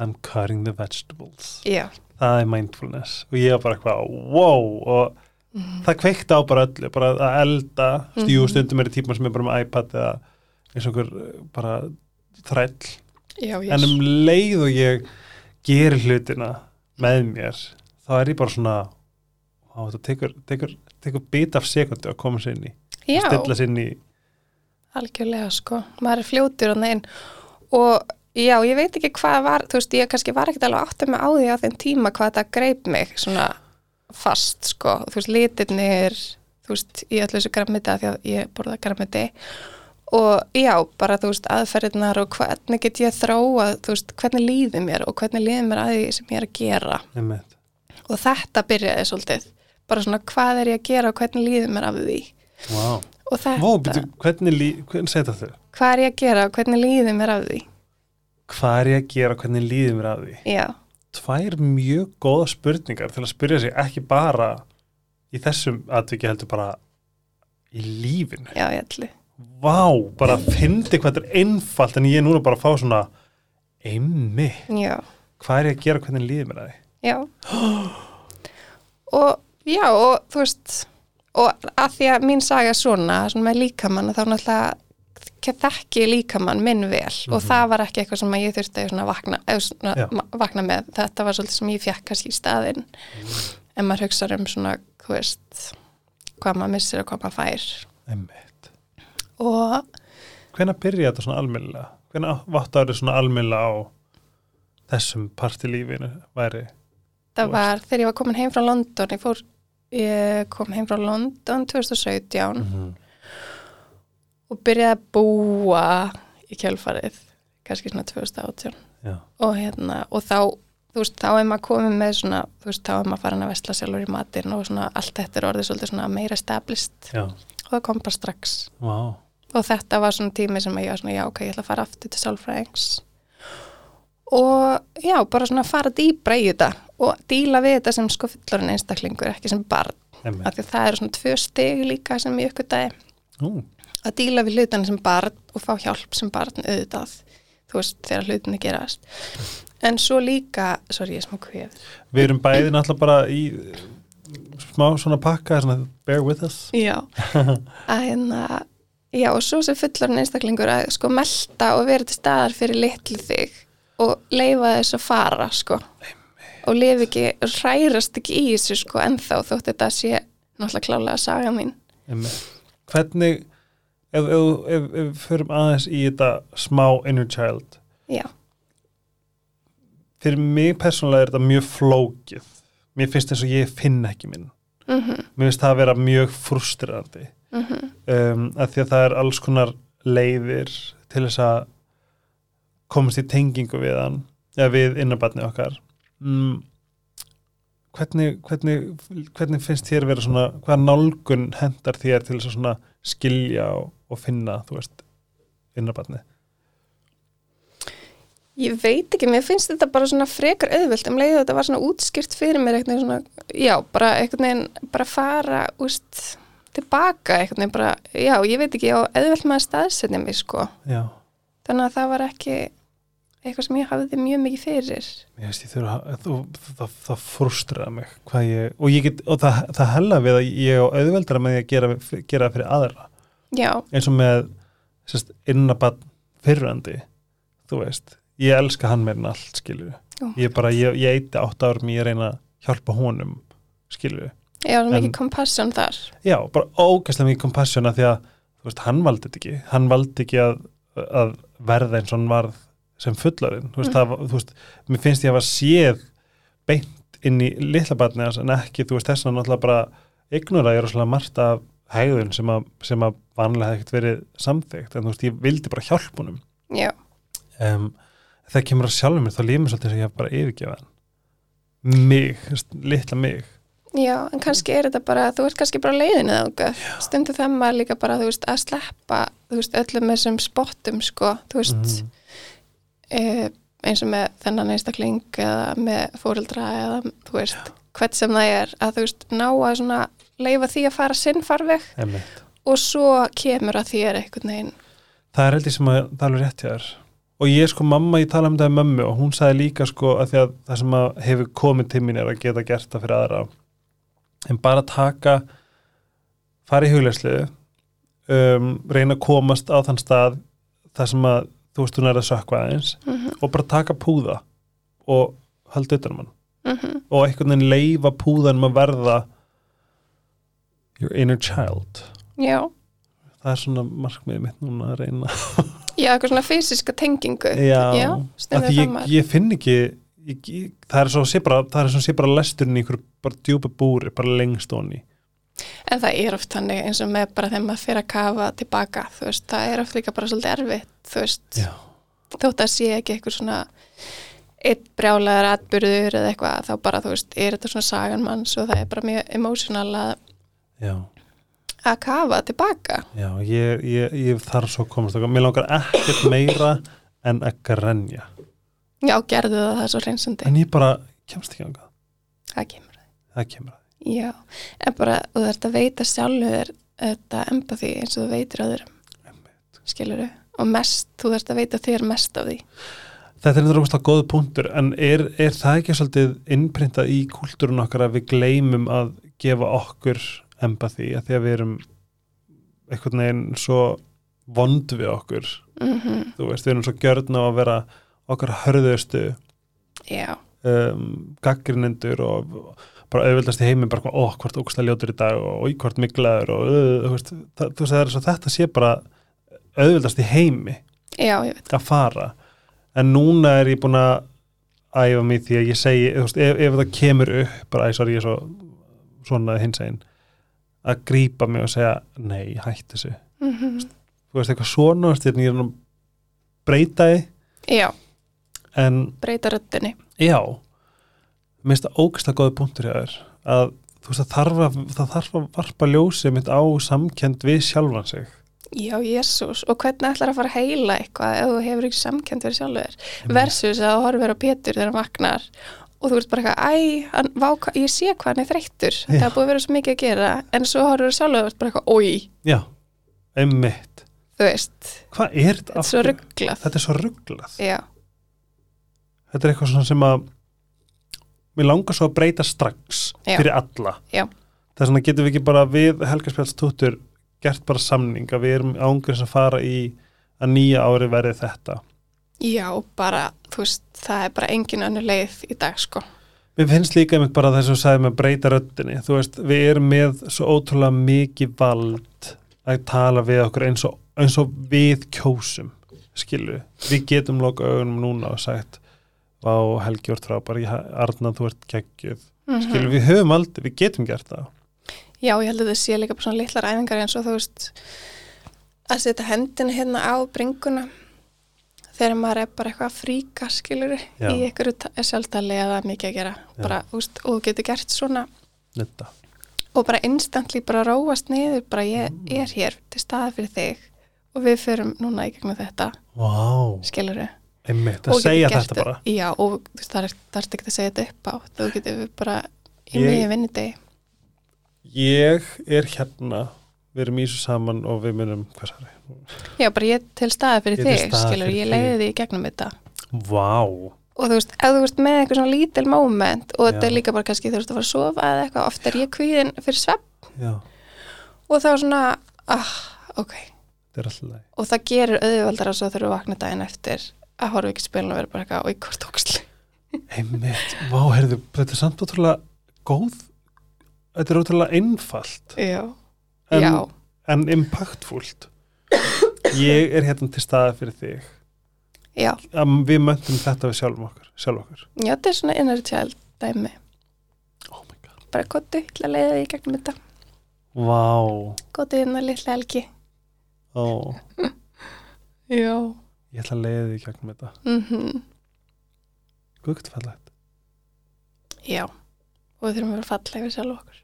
I'm cutting the vegetables.
já,
það er mindfulness og ég var bara eitthvað, wow og
Mhm.
það kveikti á bara öllu bara að elda, mm jú stundum er í tíma sem er bara með iPad eða eins og okkur eh, bara þræll
já, já,
en um leið og ég gerir hlutina með
Mhm.
mér þá er ég bara svona á, þetta tekur, tekur, tekur bit af sekundu að koma sér inn í
já.
stilla sér inn í
Algjörlega sko, maður er fljótur hann einn og já, ég veit ekki hvað var, þú veist, ég kannski var ekkert alveg áttið með á því á þeim tíma hvað þetta greip mig svona fast sko, þú veist, litirnir, þú veist, í öllu þessu grammiti af því að ég borða grammiti og já, bara þú veist, aðferðirnar og hvernig get ég þróa, þú veist, hvernig líði mér og hvernig líði mér að því sem ég er að gera
einmitt.
og þetta byrjaði svolítið, bara svona hvað er ég að gera og hvernig líði mér af því
wow.
og þetta,
Vó, byrju, hvernig, lí- hvernig segir þetta þau?
hvað er ég að gera og hvernig líði mér af því
Hvað er ég að gera, og hvernig líður mér að því?
Já,
tvær mjög góða spurningar til að spyrja sig ekki bara í þessum atviki heldur bara í lífinu.
já, ég ætli.
Vá, bara fyndi hvað þetta er einfalt en ég er núna bara að fá svona einmi,
Já,
hvað er ég að gera hvernig líður mér að því?
já. og já, og þú veist, og að því að mín saga er svona, svona með líkamann, þá náttúrulega þekki ég líkamann minn vel og það var ekki eitthvað sem að ég þurfti að svona vakna, eða svona,
Mhm. Já.
ma- vakna með. Þetta var svolítið sem ég fekk kannski í staðinn.
Mhm.
En maður hugsa um svona, þú veist, hvað maður missir og hvað maður fær.
Einmitt.
Og
Hvenær byrja þetta svona almennilega? Hvenær vattu árið svona almennilega á þessum part í lífinu væri?
það
Þú
var þegar ég var komin heim frá London, ég fór, ég kom heim frá London 2017
-hmm.
og byrjaði að búa í kjölfarið, kannski svona 2018
Já,
og hérna, og þá þú veist, þá er maður komið með svona þú veist, þá er maður farin að vesla sjálfur í matinn og svona allt þetta er orðið svolítið svona meira stablist
já,
og það kom bara strax
vá.
og þetta var svona tími sem að ég var svona já ok, ég ætla að fara aftur til sálfræðings og já, bara svona fara dýbra í þetta og díla við þetta sem sko fullorinn einstaklingur, ekki sem barn af því að það eru svona tvö stig líka sem ég aukvitaði
Ú,
að díla við hlutina sem barn og fá hjálp sem barn auðvitað þú veist, þegar hlutina gerast en svo líka, sorry, ég er smá kvef
Við erum bæði náttúrulega bara í eh, smá svona pakka svona, bear with us
Já, að hérna já og svo sem fullorinn einstaklingur að sko melta og vera til staðar fyrir litlu þig og leifa þess að fara sko og lifi ekki, hrærast ekki í þessu sko ennþá þótt þetta sé náttúrulega klálega saga mín
Einmitt. Hvernig ef ef- ef- ef við förum aðeins í þetta smá inner child
Já,
fyrir mig persónulega er þetta mjög flókið mér finnst eins og ég finn ekki minn
mhm
mér finnst það að vera mjög frustrandi
mhm
um, að því að það er alls konar leiðir til þess að komast í tengingu við hann eða við innabarnið okkar mm, hvernig, hvernig, hvernig finnst þér vera svona hvaða nálgun hendar þér til þess að svona skilja og, og finna þú veist innabarnið
Ég veit ekki, mér finnst þetta bara svona frekar auðvöld um leiðu þetta var svona útskýrt fyrir mér eitthvað svona, já, bara eitthvað neginn bara fara, úst, tilbaka eitthvað neginn bara, já, ég veit ekki og auðvöld maður staðsetja mig, sko
já,
þannig að það var ekki eitthvað sem ég hafði mjög mikið fyrir
ég veist ég þurfa að- þú, það, það frustraði mig hvað ég, og, ég get, og það, það hella við að ég á auðveldara með því að gera, gera það fyrir aðra
Já,
eins og með sérst, innabann fyrrandi þú veist, ég elska hann meirinn allt skilju,
Ó.
ég bara ég, ég eiti átt árum, ég reyna að hjálpa honum skilju,
ég var
En-
mikið kompassion þar
já, bara ógæslega mikið kompassjona því að, þú veist, hann valdi þetta ekki hann valdi ekki að, að verða eins og hann varð sem fullarinn þú veist, það, var- þú veist, mér finnst ég að hafa séð beint inn í litla barni hans en ekki, þú veist, þess að náttúrulega bara ignora ég er svona margt af hegðun sem að, sem að vanlega hefði ekkert verið samþygt, en þú veist, ég vildi bara hjálp honum
Já,
um, þegar kemur að sjálfum mér þá lífum mér svolítið sem ég hef bara yfirgefað hann mig, þú veist, litla mig
já, en kannski er þetta bara þú ert kannski bara á leiðinni þangað stundu það maður líka bara, þú veist, að sleppa þú veist, öllum þessum spottum, sko þú veist,
Mhm.
eh, eins og með þennan einstakling eða með fóreldra eða þú veist, hvert sem það er að þú veist, ná að svona leifa því að fara sinn farveg
Einmitt.
og svo kemur að þér einhvern veginn
það er heldur sem að það er alveg rétt hjá þér og ég sko mamma, ég talaði um þetta við mömmu og hún sagði líka sko að því að það sem að hefur komið til mín er að geta gert það fyrir aðra en bara taka fara í huglegsliðu um, reyna að komast á þann stað þar sem að þú veist hún er að sökva aðeins
mhm,
og bara taka púða og halda utanum hann
mhm,
og einhvern veginn leifa púðanum að verða your inner child
já
það er svona markmiðið mitt núna að reyna
Já, eitthvað svona fysiska tengingu. já
að
stundum
því
það
ég,
maður.
ég finn ekki ég, ég, það er svo sé bara, það er svo sé bara lesturinn í einhverju bara djúpa búri, bara lengst onni
En það er oft þannig eins og með bara þegar maður fyrir að kafa tilbaka, þú veist, það er oft líka bara svolítið erfitt, þú veist,
já,
þótt að sé ekki eitthvað svona eitt brjálæðar atbyrður eða eitthvað, þá bara, þú veist, er þetta svona sagan manns og það er bara mjög emotional að,
já,
að kafa tilbaka.
já ég, ég, ég þarf svo að komast okkar, mér langar ekkert meira en að grenja
Já, gerðu það, það er svo reynsandi.
en ég bara kemst ekki ánga
Það kemur.
það kemur að
Já, en bara, þú þarft að veita sjálfur þetta empathy eins og þú veitir öðrum,
Einmitt.
skilur þau? Og mest, þú þarft að veita þér mest af því.
Þetta er náttúrulega góð punktur en er, er það ekki svolítið innprintað í kúltúrun okkar að við gleymum að gefa okkur empati að því að við erum einhvern veginn svo vond við okkur,
Mm
þú veist, við erum svo gjörn á að vera okkar hörðustu
Já,
um, gaggrinendur og bara auðvildast í heiminn bara, ó, hvort ógsta ljótur í dag og ó, hvort miklaður og uh, þú veist, það, þú veist, það er svo þetta sé bara auðvildast í heimi
já, ég veit.
að fara en núna er ég búin að æfa mig í því að ég segi þú veist, ef, ef það kemur upp, bara æ, sorry, ég er svo svona hins einn að grípa mig og segja, nei, hætt þessu
Mm
þú veist, eitthvað svona, þú veist, hérna, ég er nú breytaði,
Já,
en
breyta röddinni.
já mér finnst það ógæslega góði punktur hjá þér að þú veist, það þarf að, það þarf að varpa ljósið mitt á samkend við sjálfan sig
já, jésús, og hvernig ætlar að fara að heila eitthvað ef þú hefur ekki samkend fyrir sjálfur
Mm.
þér versus að þú horfir á Pétur þegar hann vaknar og þú ert bara eitthvað, æ, hann, vá, hva- ég sé hvað hann er þreyttur, það er búið að vera svo mikið að gera en svo horfir þú sjálfur og ert bara eitthvað, oi,
já, einmitt
þú veist,
hvað er þetta
þetta er svo
aftur?
rugglað
þetta er svo rugglað
já,
þetta er eitthvað svona sem að mér langar svo að breyta strax
Já.
fyrir alla
Já.
það er svona getum við ekki bara við helgarspjálstúttur gert bara samning að við erum ángrins að fara í að nýja ári verði þetta
já, bara þú veist, það er bara engin önnur leið í dag, sko,
Mér finnst líka einmitt bara þess að sagði með að breyta röddinni, þú veist, við erum með svo ótrúlega mikið vald að tala við okkur eins og, eins og við kjósum, skilu við getum loka augunum núna og sagt vá, Helgi úr frábær ég- Arna, þú ert geggjöð
mm
skilu, við höfum aldrei, við getum gert það
Já, ég held að það sé líka bara svona litlar æfingar eins og þú veist að setja hendina hérna á bringuna þegar maður er bara eitthvað að fríka skilur
Já.
í einhverju ta- sjálftali eða mikið að gera
Já.
bara, úst, og þú getur gert svona
Netta.
og bara instantly bara róast niður bara ég
Mm.
er hér til staða fyrir þig og við förum núna í gegnum þetta
Vá,
skilur
einmitt, að segja þetta bara
Já, og þú veist, það er, það er ekki að segja þetta upp á þú getur bara í
Ég-
mjög vinnudegi
Ég er hérna við erum í þessu saman og við munum hvað særi?
Já, bara ég er til staða
Ég
fyrir
er til
þig
staðar
skilur,
fyrir
ég
þig.
leiði þig í gegnum þetta
Vá,
og þú veist, ef þú veist með einhver svona lítil moment og þetta
Já.
er líka bara kannski þú veist að fara að sofa eða eitthvað, oft er ég kvíðin fyrir svepp
já,
og þá svona, ah, ok
þetta er alltaf leið
og það gerir auðveldar að svo þurfum við að vakna daginn eftir að horfa ekki í spilin og vera bara eitthvað og í hvort óksli
Einmitt, vá, heyrðu, þetta er samt ótrúlega góð, þetta er ótrúlega einfalt
Já,
en,
já,
en impactfullt. Ég er hérna til staða fyrir þig.
já,
Um, við möndum þetta við sjálfum okkur, sjálf okkur.
já, þetta er svona inner child dæmi,
Oh my god.
bara kottu, til að leiða þig í gegnum þetta,
Vá,
kottu inn að litla helgi
ó,
Já,
ég ætla að leiða því gegnum þetta.
mhm
Gugt fallegt.
já og við þurfum að vera fallega við sjálf okkur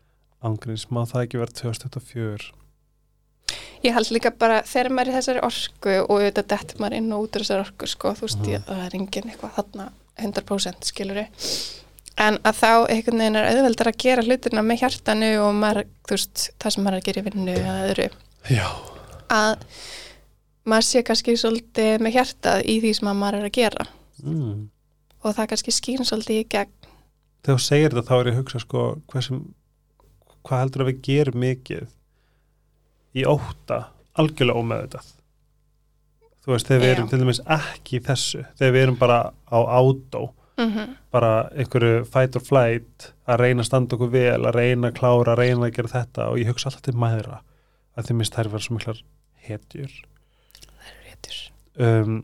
Ángurins, má það ekki vera 2024.
Ég held líka bara þegar maður er í þessari orku og auðvitað dettur maður inn og út úr þessari orku sko, þú veist,
Mhm.
ég, það er engin eitthvað þarna 100% skilur en að þá einhvern veginn er auðveldar að gera hlutina með hjartanu og maður, þú veist, það sem maður er að gera í vinnu eða öðru,
Já,
að maður sé kannski svolítið með hjartað í því sem að maður er að gera
mm.
og það kannski skýn svolítið í gegn
þegar þú segir þetta þá er ég að hugsa sko hversum, hvað heldur að við gerum mikið í óta algjörlega ómeðvitað þú veist þegar við
Já.
erum til dæmis ekki í þessu þegar við erum bara á átó
mm
bara einhverju fight or flight að reyna að standa okkur vel að reyna að klára, að reyna að gera þetta og ég hugsa alltaf til mæðra að þeim minnst þær vera svo miklar hetjur um,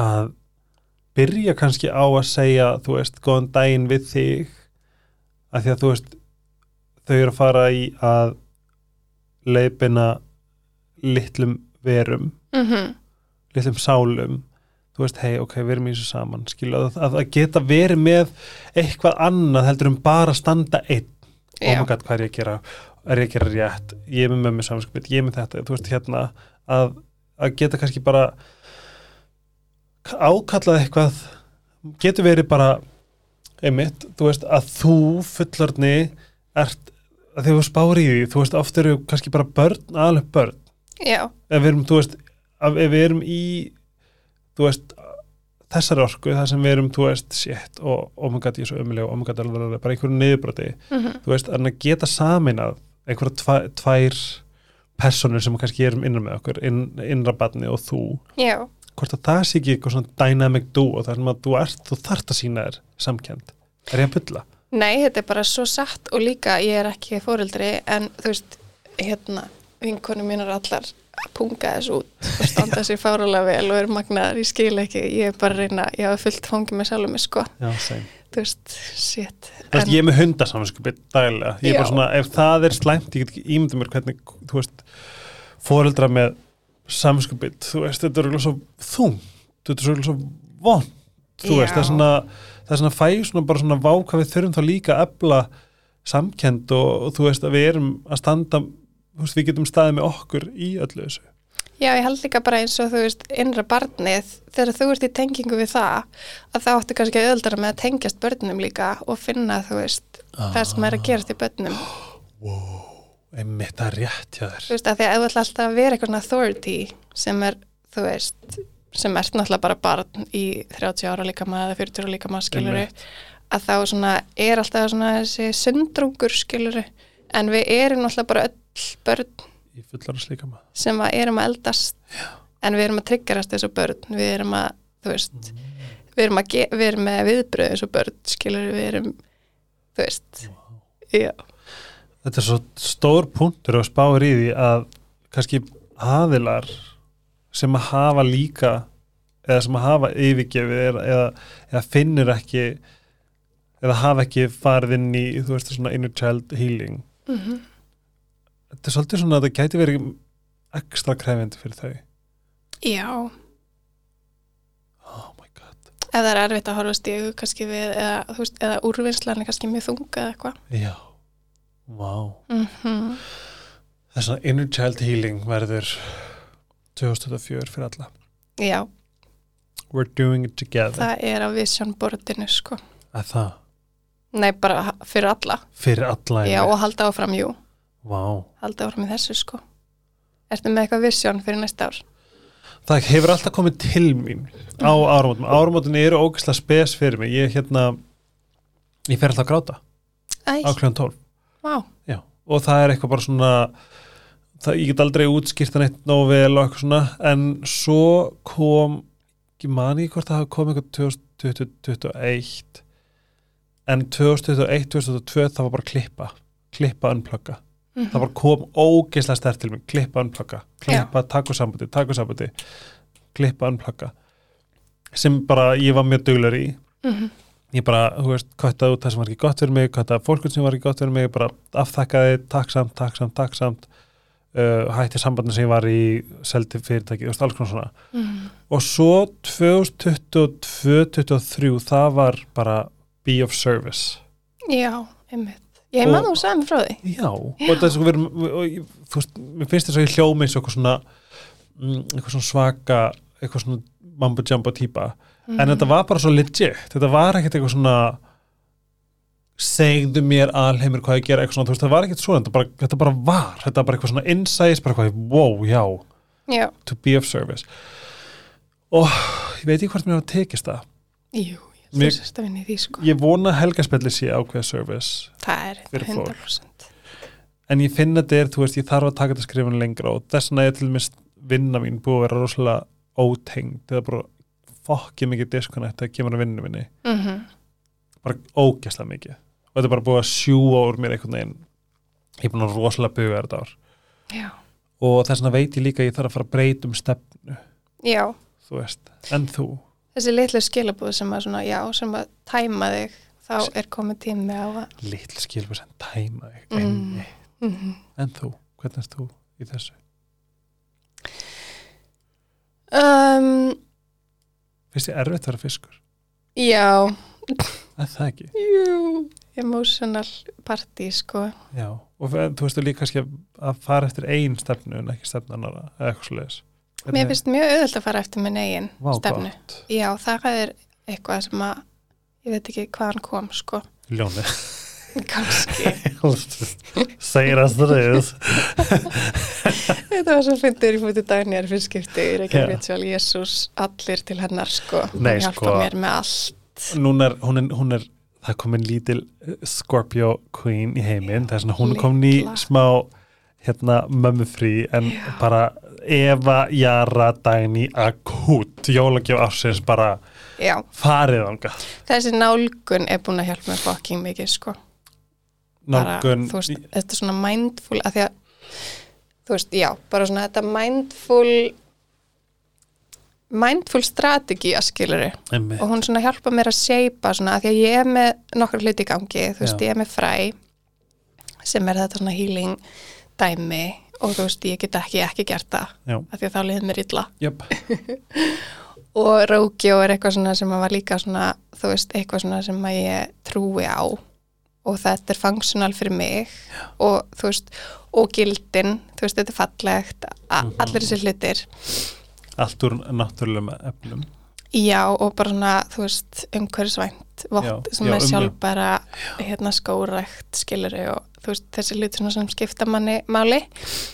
að byrja kannski á að segja þú veist, góðan daginn við þig af því að þú veist þau eru að fara í að leipina litlum verum,
mm -hmm.
litlum sálum þú veist, hei, ok, við erum í þessu saman skilu, að, að, að geta verið með eitthvað annað heldur um bara að standa einn oh my
já,
god, hvað er ég að gera er ég að gera rétt, ég er með mig samskipið ég er með þetta, þú veist hérna að, að geta kannski bara ákallað eitthvað getur verið bara einmitt, þú veist að þú fullorni ert að þegar þú spáir í því, þú veist oft eru kannski bara börn, alveg börn
já,
ef við erum, þú veist, ef ef við erum í þú veist þessari orku, það sem við erum, þú veist shit, og oh my god, ég er svo ömuleg og oh my god, alveg, alveg, bara einhverju niðurbroti
mhm,
þú veist, en að geta saminað einhverja tva, tvær personur sem kannski erum innan með okkur inn, innra batni og þú
já
hvort að það sé ekki eitthvað svona dynamic duo þar sem að þú ert, þú þart að sína þér samkend, er ég að bylla?
Nei, þetta er bara svo satt og líka ég er ekki fóreldri en þú veist, hérna, vinkonum mínar allar að punga þessu út og standa sér fárulega vel og eru magnaðar, ég skil ekki, ég er bara að reyna, ég hafa fullt fangið með sjálfum mér sko,
Já, same.
þú veist, shit.
Þú veist, ég er með hundasamvinskupið dægilega, ég er bara
Já.
svona, ef það er slæmt ég get ekki ímyndið mér hvernig, þú veist foreldra með samvinskupið þú veist, þetta er örugglega svo þung þetta er örugglega svo von þú veist,
Já.
það er svona, það er svona fæ svona bara svona váka við þurfum þá líka að efla samkend og, og þú veist að við erum að standa þú veist, við getum staðið með okkur í öllu þessu
Já, ég held líka bara eins og þú veist innra barnið, þegar þú ert í tengingu við það, að þá áttu kannski að öðuldara með að tengjast börnum líka og finna þú veist, það sem er að gerast í börnum,
einmitt það er rétt hjá þér
þú veist, af því að ef þú ætla alltaf að vera eitthvað svona authority sem er, þú veist, sem ert náttúrulega bara barn í 30 ára líka maður eða 40 ára líka maður skiluru
Einmitt.
að þá svona er alltaf svona þessi sundrungur skiluru en við erum náttúrulega bara öll börn
í fullar að slíka maður
sem að erum að eldast Já. en við erum að tryggarast þessu börn við erum að, þú veist við erum, að ge- við erum með viðbröð þessu börn skilur við erum þú veist Já.
Þetta er svo stór punktur og spáir í því að kannski aðilar sem að hafa líka eða sem að hafa yfirgefið eða, eða, eða finnur ekki eða hafa ekki farið inn í þú veist svona inner child healing Þetta er svolítið svona að það gæti verið ekstra krefjandi fyrir þau
Já.
Oh my god
ef það er erfitt að horfa stígu kannski við eða, þú veist, eða úrvinnslan er kannski mjög þunga eða eitthvað
Já, vá
mm
Það er svona inner child healing verður 2004 fyrir alla
Já,
We're doing it together
það er á vision boardinu sko
Að það,
Nei, bara ha- fyrir alla
fyrir alla
Já,
einmitt.
og halda áfram, jú,
Vá
halda áfram í þessu sko Ertu með eitthvað vision fyrir næsta ár?
það hefur alltaf komið til mín á áramótum, áramótum eru ógæslega spes fyrir mig, ég hérna ég fer alltaf að gráta
Æ,
á kljóðan 12
vá,
Já. og það er eitthvað bara svona það, ég get aldrei útskýrt hann eitt nóg vel og eitthvað svona, en svo kom ég man ekki hvort það hafi komið eitthvað 2021 en 2021 2022 það var bara klippa klippa unplugga,
Mhm.
það bara kom ógeðslega stert til mig, klippa unplugga klippa, taka úr sambandi, taka úr sambandi klippa unplugga sem bara ég var mjög duglar í
Mhm.
ég bara, þú veist, kvættaði út það sem var ekki gott fyrir mig, kvættaði fólkun sem var ekki gott fyrir mig bara afþakkaði, takksamt, takksamt, takksamt uh, hætti sambandin sem ég var í seldi fyrirtæki, þú veist, alls konar svona
Mhm.
og svo 2022-2023 það var bara be of service
Já, einmitt. Ég man
Og-
þú sagði mér frá því.
Já, og þetta er svo verið og ég- þú veist, mér finnst þess að ég hljómi eins og eitthvað svona mm, eitthvað svona svaka, eitthvað svona mambo jumbo típa,
Mhm.
en þetta var bara svo legit, þetta var ekkert eitthvað svona segðu mér alheimir hvað ég gera, eitthvað svona, þú veist, það var ekkert svona þetta bara, þetta bara var, þetta var bara eitthvað svona insights, bara eitthvað, wow, já,
Já.
to be of service og ég veit ekki hvort mér hafa tekist það
Jú,
Mér-
þú sérst að vinna í því sko.
ég vona að helgaspelli sé ákveða service
það er
Fyrir fólk.
100%.
en ég finna þetta er, þú veist, ég þarf að taka þetta skrifin lengra og þess vegna er til mist vinna mín búið að vera rosalega ótengd það er bara fokkið mikið disconnect þegar kemur að vinnu minni,
Mm
bara ógæslega mikið og þetta er bara búið að sjúa úr mér einhvern veginn ég er búin að rosalega buga þetta ár
Já.
og þess vegna veit ég líka að ég þarf að fara að breyta um stefnu,
Já,
þú veist, en þú
þessi litlu skilabúð sem að svona, já, sem að tæma þig, þá er komið tími á að,
litl skilfur sem tæma þig
Mm.
einmitt.
mm
en þú, hvernig erst þú í þessu?
um,
finnst ég erfitt að vera fiskur?
já,
Er það ekki?
jú, emotional party sko.
Já, og f- þú veistu líka kannski að- að fara eftir ein stefnu en ekki stefnu annara, eða eitthvað svoleiðis.
Mér finnst mjög auðvöld að fara eftir minn eigin
Vá,
stefnu.
gott.
Já, það er eitthvað sem að, ég veit ekki hvaðan kom sko.
Ljónið.
Kanski.
Segir að það reyðis.
Þetta var svo fyndur í fótið Dagnýjar fyrst skipti í
Já.
Reykjavík Sjálf Jésús, allir til hennar sko,
Nei,
Hún hjálpa
sko.
mér með allt.
Núna er, hún er, hún er, það er komin lítil eh, Scorpio Queen í heiminn, það er svona, hún er komin í
Litla.
smá, hérna, mömmu frí, en
Já.
bara Eva Jara Dæni akút, jólagjöf ársins bara
Já,
farið ánga.
þessi nálgun er búin að hjálpa mér fucking mikið sko. Bara,
Nálgun,
Þú veist, þetta er svona mindful, að því að, þú veist, já, bara svona þetta mindful, mindful strategi að skiluru.
einmitt.
og hún svona hjálpa mér að seipa svona að því að ég er með nokkra hluti í gangi þú veist,
Já.
ég er með fræ sem er þetta svona healing dæmi og þú veist, ég get ekki ekki gert það
Já.
að því að þá liðið mér illa
Jöp,
og Rókjó er eitthvað svona sem að var líka svona, þú veist, eitthvað svona sem að ég trúi á og þetta er functional fyrir mig og þú veist, og gildin þú veist, þetta er fallegt a-
Mhm.
allir þessi hlutir
allt úr náttúrulega með eflum
já og bara svona, þú veist, umhverfisvænt vott
Já,
sem
já,
er
um-
sjálfbæra hérna skórækt, skiluru og þú veist, þessi hlutir svona sem skipta manni máli,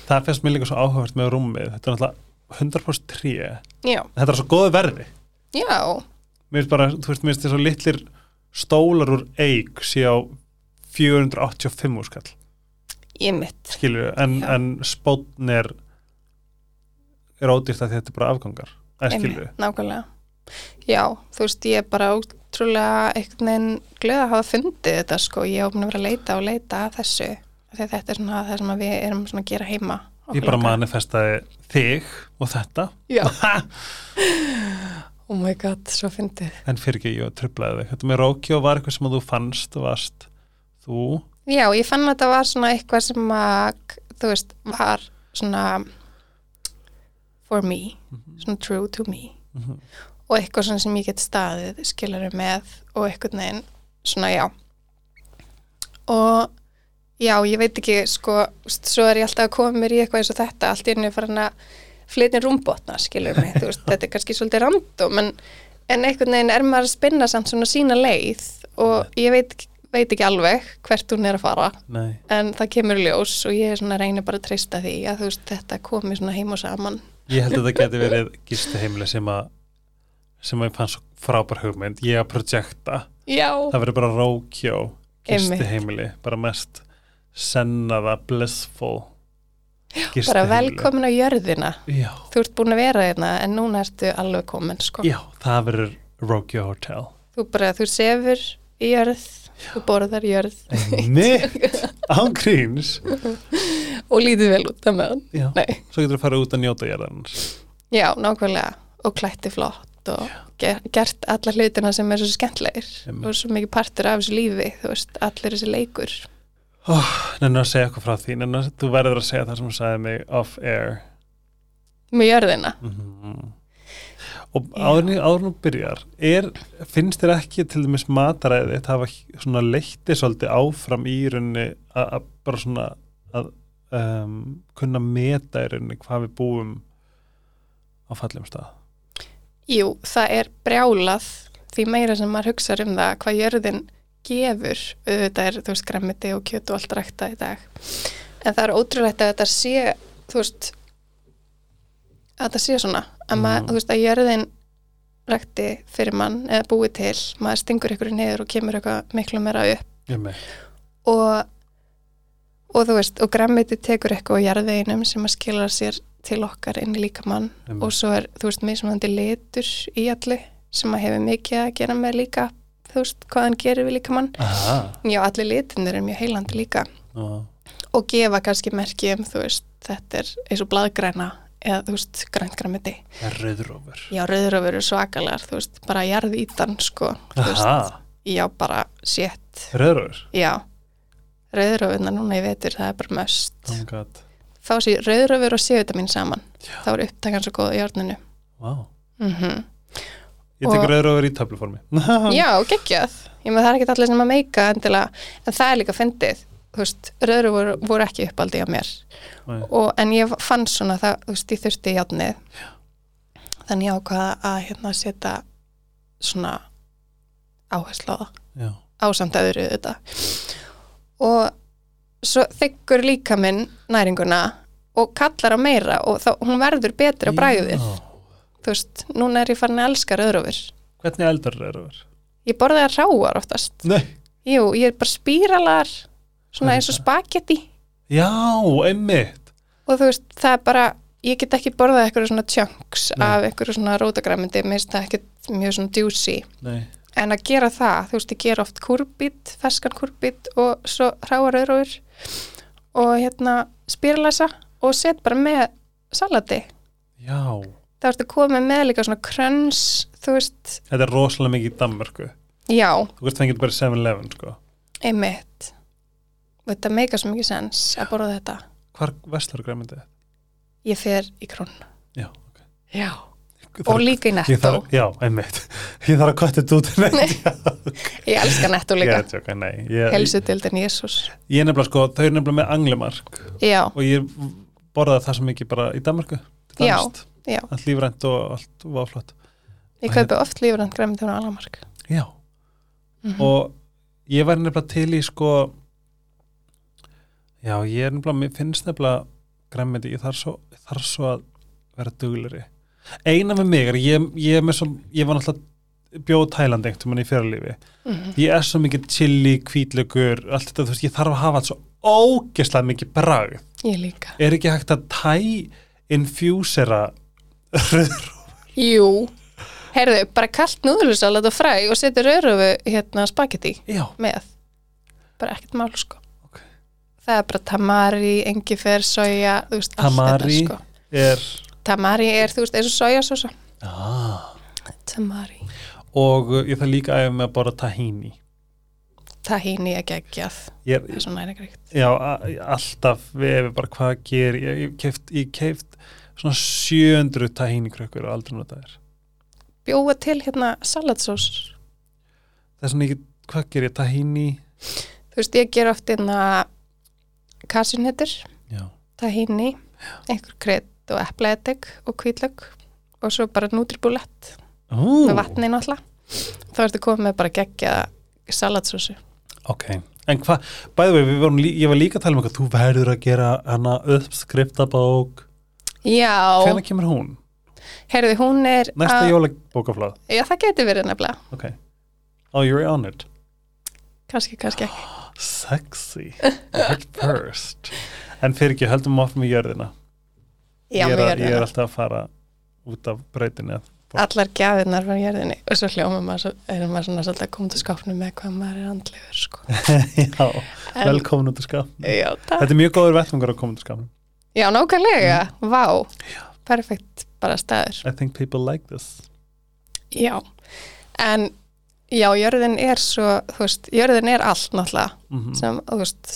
það finnst mér líka svo áhugavert með rúmið þetta er náttúrulega 100% tré
já,
þetta er svo góðu verði
já
mér finnst bara, þú veist, mér finnst þess að litlir stólar úr eig sé á 485 úrskall
ég mitt,
skilju, en,
Já.
en spótn er er ódýrt að þetta er bara afgangar eða skilju,
Einmitt, nákvæmlega já, þú veist, ég er bara ótrúlega einhvern veginn glöð að hafa fundið þetta sko, ég er opin að vera að leita og leita að þessu, þegar þetta er svona það sem að við erum svona að gera heima
ég bara manifestaði þig og þetta
já oh my god, svo fyndið
en fyrir ekki ég trublaði þig þetta með Rókjó var eitthvað sem að þú fannst og varst þú
já, ég fann að þetta var svona eitthvað sem að þú veist, var svona for me svona true to me
Mhm.
og eitthvað svona sem ég get staðið skilur með og eitthvað neginn svona já og já, ég veit ekki sko, úst, svo er ég alltaf að koma mér í eitthvað eins og þetta, allt í henni farin að flytni rúmbotna, skilur mig, þú veist þetta er kannski svolítið random, en en einhvern veginn er maður að spinna samt svona sína leið og ég veit, ekki- veit ekki alveg hvert hún er að fara
nei,
en það kemur í ljós og ég er svona að reyna bara að treysta því að þú veist þetta komi svona heim og saman
ég held að þetta geti verið gistu sem að sem að ég fann svo frábær hugmynd ég að projekta,
Já,
það verið bara Rókjó
Einmitt.
gistu bara mest sennaða, blissful gistu
bara velkomin á jörðina
já,
þú ert búin að vera hérna en núna ertu alveg komin sko.
já, það verður Rókjó Hotel
þú bara, þú sefur í jörð þú borðar jörð
mitt án gríns
og lítið vel út af meðan
já.
Nei.
svo getur þú að fara út að njóta jæðarins
já, nákvæmlega, og klætti flott og ger, gert alla hlutina sem er svo skemmtlegir
Einmitt.
og svo mikið partur af þessu lífi þú veist, allir þessi leikur
Nenna að segja eitthvað frá því Nenna, þú verður að segja það sem hún sagði mig off air
með jörðina
og
Já.
áður en áður nú byrjar er, finnst þér ekki til dæmis mataræði þetta hafa h- svona leitti svolítið áfram í rauninni að að bara svona að um, kunna meta í rauninni hvað við búum á fallum stað
Jú, það er brjálað því meira sem maður hugsa um það hvað jörðin gefur auðvitað er, þú veist, græmiti og kjöt og allt rækta í dag en það er ótrúlegt að þetta sé þú veist að þetta sé svona að, maður,
Mhm.
þú veist, að jörðin rækti fyrir mann eða búi til, maður stingur ykkur niður og kemur eitthvað miklu meira upp
ég með
og, og þú veist, og græmiti tekur eitthvað á jarðveginum sem að skila sér til okkar inn í líkamann og svo er, þú veist, mismunandi litur í allu sem að hefur mikið að gera með líka, þú veist, hvað hann gerir við líka mann.
aha
Já, allir litinir eru mjög heilandi líka
og,
og gefa kannski merki um, þú veist, þetta er eins og blaðgræna eða, þú veist, græntgræmiti.
er rauðrófur
Já, rauður eru svakalar, þú veist, bara jarðítan, sko, þú veist,
aha,
já, bara sétt,
rauðrófur
já. Rauðuröfunar núna í vetur, það er bara möst.
oh my god,
Fá sér rauðuröfur og C-vitamin saman. Þá er upptakan svo góð í járninu.
wow
Mm
ég tek
Og-
rauðrófur í töfluformi
Já, geggjað. Ég með það er ekki allir sem að meika endilega, en það er líka fyndið. Þú veist, röður voru, voru ekki uppaldi á mér.
Nei.
Og, en ég fann svona það, þú veist, ég þurfti játnið. Þannig ég ákvaða að hérna setja svona áherslu á það,
já,
ásamt öðru þetta. Og svo þykkur líka minn næringuna og kallar á meira og þá, hún verður betri á bræðið.
Já.
Þú veist, núna er ég farin að elska röðrofur.
hvernig eldar rauðrófur?
Ég borða það ráar oftast.
nei
Jú, ég er bara spíralar svona eins og spagetti
já, einmitt
og þú veist, það er bara ég get ekki borðað eitthvað svona chunks af eitthvað svona rótagræmindi, mér finnst það ekkert mjög svona djúsi,
nei
en að gera það þú veist, ég gera oft kurbít, feskan kurbít og svo ráaröður og hérna spíralasa og set bara með salati,
Já,
það ertu komið með líka svona kröns, þú veist
þetta er rosalega mikið í Danmörku.
já,
Þú veist fengið bara í 7-Eleven, sko.
einmitt og þetta meika svo mikið sens að borða þetta
Hvar vestlar græmyndið?
ég fer í krónu
Já, ok.
Já.
Ég
og
þarf-
líka í
ég
nettó.
þarf, já, einmitt ég þarf að kvætti þetta út nei,
Ég elska nettó
ég
líka.
er tjóka, nei ég, ég,
Helsutildin Jésús.
ég er nefnilega sko, þau eru nefnilega með anglimark
Já,
og ég borðaði það sem ekki bara í Danmarku
Já, já.
allt lífrænt og allt var flott
ég kaupi oft lífrand græmið til alamark. Mhm.
já, og ég væri nefnilega til í sko já, ég er nefnilega mér finnst nefnilega græmmiti ég þarf svo, ég þarf svo að vera dugleri eina með mig er ég, ég, er með svo, ég var náttúrulega bjóð Tælandi einhvern mann í fyrirlífi
Mhm,
ég er svo mikið chili, hvítlögur allt þetta, þú veist, ég þarf að hafa allt svo ógeslega mikið bragð
Ég líka.
er ekki hægt að tæ infjúsera
Jú, heyrðu, bara kallt núðlusalat og fræ og setur örufu hérna spagetti
já,
með. Bara ekkert mál, sko.
Ok.
Það er bara tamari, engifer, soja, þú veist,
Tamari.
allt þetta, sko.
er
Tamari er, þú veist, eins og sojasósa.
ah.
Tamari.
og uh, ég þarf líka að æfa mig að borða tahini
Tahini er geggjað.
ég
Það
er,
er svo næringrikt.
já, a- alltaf vefi bara hvað ger ég, ég keft, ég keft svona 700 tahini krökkur og aldrei nota þér
Bjóða til hérna salatsós.
það er svona ekki, hvað ger ég, tahini
Þú veist, ég ger oft hérna kasinhetur,
já,
tahini, einhver kredd og eplaetek og kvítlögg og svo bara nútribúlett.
Ú,
með vatni náttúrulega þá ertu komið með bara geggja salatsósu
ok en hvað, bæði við, vorum lí, ég var líka að tala um eitthvað, þú verður að gera hana uppskriftabók,
já,
hvenær kemur hún?
heyrðu hún er
næsta
að-
jólabókaflað,
já, það getur verið nefnilega,
ok oh, you're on it
kannski, kannski ekki
sexy, head first en fyrir ekki, höldum áfram í jörðina
já,
ég, er að,
með
ég er
jörðina,
alltaf að fara út af brautinni
allar gjafinnar frá jörðinni og svo hljóma maður svo, erum maður svona svolítið að koma til skápnum með hvað maður er andlegur sko.
Já,
En-
velkomin út af skapnum
já, það,
Þetta er mjög góður vettungar að koma út af skapnum
já, nákvæmlega
Mm.
vá, perfekt bara staður
I think people like this
já, en já, jörðin er svo, þú veist jörðin er allt náttúrulega
mm
sem, þú veist,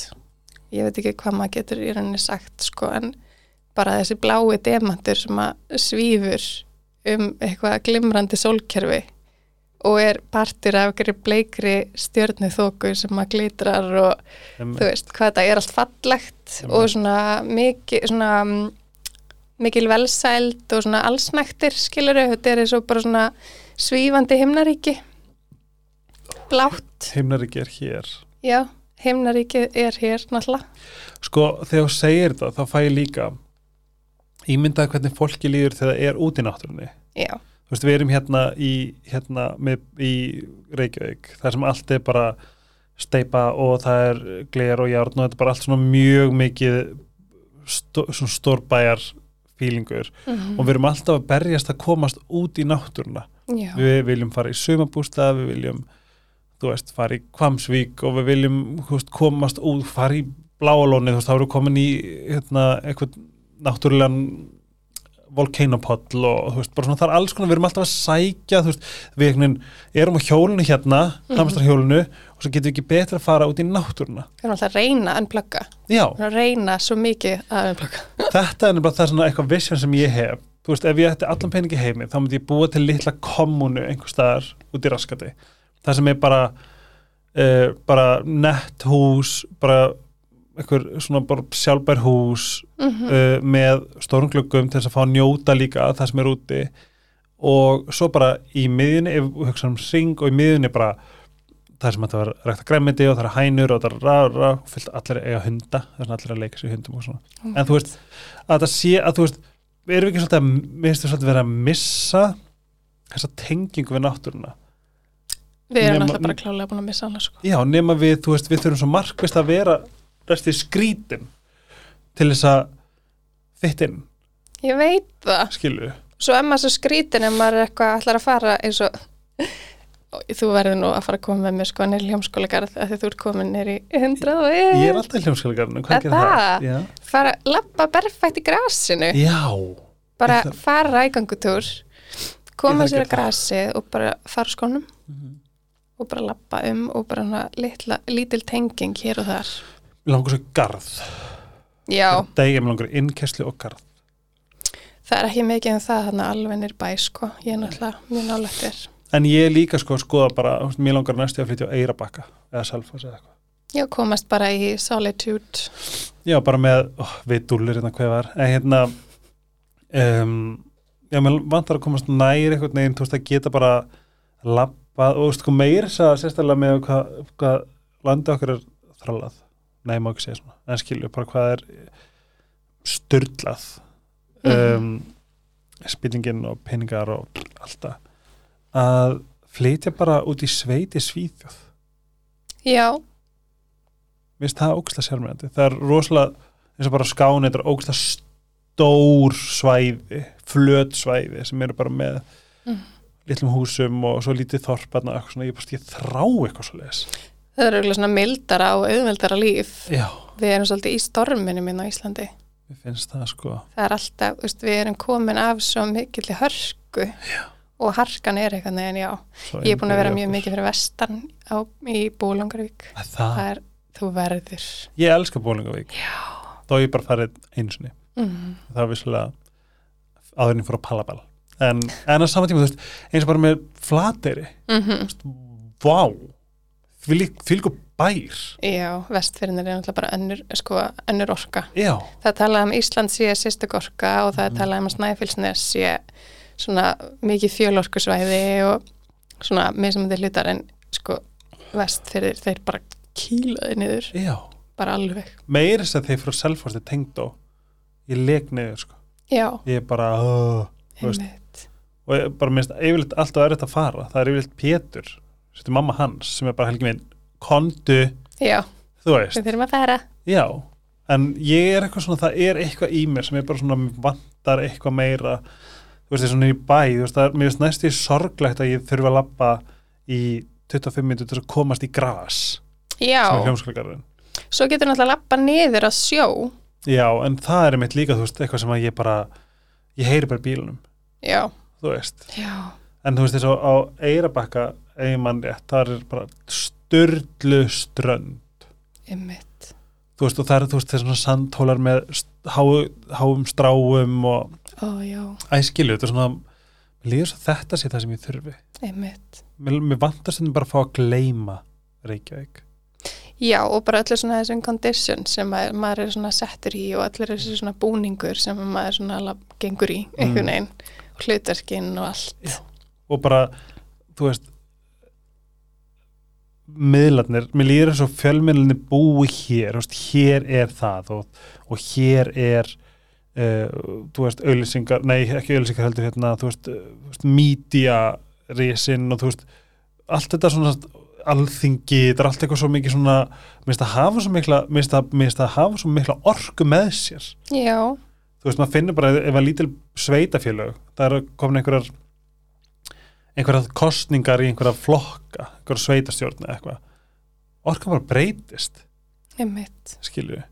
ég veit ekki hvað maður getur í rauninni sagt, sko, en bara þessi blái demantur sem að svífur um eitthvað glimrandi sólkerfi og er partur af einhverju bleikri stjörnuþóku sem að glitrar og þú veist, hvað þetta er allt fallegt
Einmitt.
og svona mikil, svona mm, mikil velsæld og svona allsnæktir skiluru, þetta er svo bara svona svífandi himnaríki blátt
Himnarík er hér
Já, heimnaríkið er hér náttúrulega.
Sko, þegar þú segir þetta, þá fæ ég líka Ímyndaði hvernig fólki líður þegar það er út í náttúrunni
Já,
Þú veist, við erum hérna í, hérna með, í Reykjavík, þar sem allt er bara steipa og það er gler og járn og þetta er bara allt svona mjög mikið stó, svona stórbæjar fílingur og við erum alltaf að berjast að komast út í náttúruna.
já,
Við viljum fara í sumabústað, við viljum, þú veist, fara í Kvamsvík og við viljum þú veist, komast út, fara í Bláalónið, þú veist, þá erum við komin í hérna, eitthvað náttúrulegan volcanopoll og þú veist, bara svona það er alls konar, við erum alltaf að sækja þú veist, við einhvern veginn erum á hjólinu hérna, mm og svo getum við ekki betra að fara út í náttúruna
við erum alltaf að reyna að unplugga.
Já,
Við erum að reyna svo mikið að unplugga.
þetta er nefnilega það svona eitthvað vision sem ég hef þú veist, ef ég ætti allan peningi heimi þá myndi ég búa til litla kommunu einhvers staðar út í raskati það sem er bara uh, bara nett hús bara einhver svona bara sjálfbær hús uh, með stórum gluggum til þess að fá að njóta líka það sem er úti og svo bara í miðjunni ef við hugsa um ring og í miðjunni bara það sem þetta var rækta græmiti og það er hænur og það er rá, rá, fyllt allir eiga hunda það er svona allir að leika sér í hundum og svona en þú veist, að það sé að þú veist erum við ekki svolítið að mér finnst við svolítið vera að missa þessa tengingu við náttúruna
Við erum
Nema-
alltaf bara klálega búin að missa hana, sko.
já, nema við, þú veist, við þurfum svo markvist að vera restið skrítin til þess að þitt inn,
Ég veit það.
skilu
Svo er maður svo skrítin ef maður er eitthvað allar að fara eins og og þú verður nú að fara að koma með mér sko nýr hljómskólagarð að því þú ert komin nýr í 100 og
ég er
er
alltaf í hljómskjálgarinu,
Er
hvað gerir það?
það?
Já.
fara að lappa berfætt í grasinu
já,
bara
Ég þarf-
fara í gangutúr koma
Ég þarf að
sér
gera Mhm.
að grasi og bara fara úr skónum og bara lappa um og bara hana litla, lítil tenging hér og þar
langar svo í garð
já,
degi með langar innkesslu og garð
það er ekki mikið en það þannig alveg nýr bæ sko, ég er náttúrulega mjög nálægt þér.
En ég er líka sko að skoða bara, þú veist, mér langar næstu að flytja á Eirabakka eða Selfoss eða eitthvað.
Ég komast bara í solitude.
Já, bara með, ó, við dúllir hérna hvað var, en hérna, um, já, mér vantar að komast nær eitthvað neginn, þú veist, að geta bara labbað og þú veist, sko meir, sá, sérstaklega með hvað, hvað landi okkar er þrallað, nei, má ekki segja svona, en skilju bara hvað er styrlað, um, spillingin og peningar og alltaf, að flytja bara út í sveiti svíþjóð.
Já,
Mér finnst það ógæslega sérmjöndi það er rosalega, eins og bara skáni þetta er ógæslega stór svæði flöt svæði sem eru bara með
Mhm.
litlum húsum og svo lítið þorparna eitthvað svona, ég, bara, ég þrá eitthvað svo leiðis
það eru eiginlega svona mildara og auðveldara líf.
Já,
Við erum svolítið í storminu minn á Íslandi.
mér finnst það sko
Það er alltaf, þú veist, við erum komin af svo mikilli hörku já. og harkan er eitthvað neginn, já.
svo
Ég er búin að vera
innbyggði
mjög
okkur.
mikið fyrir vestan á, í Bólangarvík.
Að Það,
Það er, þú verður.
ég elska Bólingavík
Já.
þá hef ég bara farið einu sinni
Mm.
það var visslega áðurinn fór á Palabal en, en að sama tíma, þú veist, eins og bara með flateri,
Mm
vá fylgur bær
Já, vestfyrinir er náttúrulega bara önnur, sko, önnur orka.
Já,
Það er talað um Ísland sé sérstök orka og það
Mm.
er talað um að Snæfellsnes sé svona mikið fjölorkusvæði og svona mismandi hlutar en sko vestfyrir þeir bara kýlaði niður,
já
bara alveg.
meira þess að þeir frá Selfoss þeir tengd á ég leik niður sko
Já,
ég er bara uh, Þú veist.
einmitt.
og ég bara minnst yfirleitt alltaf er þetta að fara það er yfirleitt Pétur, þetta er mamma hans sem er bara helgi minn, kondu
Já,
þú veist,
við þurfum að fara.
já en ég er eitthvað svona, það er eitthvað í mér sem er bara svona, mér vantar eitthvað meira þú veist, það er svona í bæ þú veist, það er, mér finnst næst í sorglegt að ég þurfi að labba í 25 minnir til þess að komast í gras sem er
Já,
hljómskólagarðin
svo getur náttúrulega lappa niður að sjó.
Já, en það er mitt líka, þú veist, eitthvað sem að ég bara, ég heyri bara í bílunum,
Já,
þú veist.
já,
En þú veist, þess að á Eirabakka, eigin mann rétt, það er bara styrlu strönd.
einmitt.
Þú veist, og það er, þú veist, þessi svona sandhólar með st- háu, háum stráum og
Ó, já,
æskilu, þetta er svona, mér líður svo þetta sé það sem ég þurfi.
einmitt.
Mér, mér vantar stundum bara að fá að gleyma Reykjavík.
Já, og bara öllu svona þessum condition sem maður, maður er svona settur í og allir þessi svona búningur sem maður svona lab, gengur í, einhvern veginn, hlutarkinn og allt.
og bara, þú veist miðlarnir, mér líður svo fjölmiðlarnir búi hér, þú veist, hér er það og, og hér er uh, þú veist, auðlýsingar nei, ekki auðlýsingar heldur hérna þú veist, uh, þú veist mídía risinn og þú veist, allt þetta svona alþingi, þetta er allt eitthvað svo mikið svona, minnst að hafa svo mikla minnst að, minnst að hafa svo mikla orku með sér
Já,
þú veist, maður finnur bara ef að lítil sveitafélög það eru komin einhverjar einhverjar kostningar í einhverjar flokka einhverjar sveitastjórn eða eitthvað orkan bara breytist,
einmitt.
skilju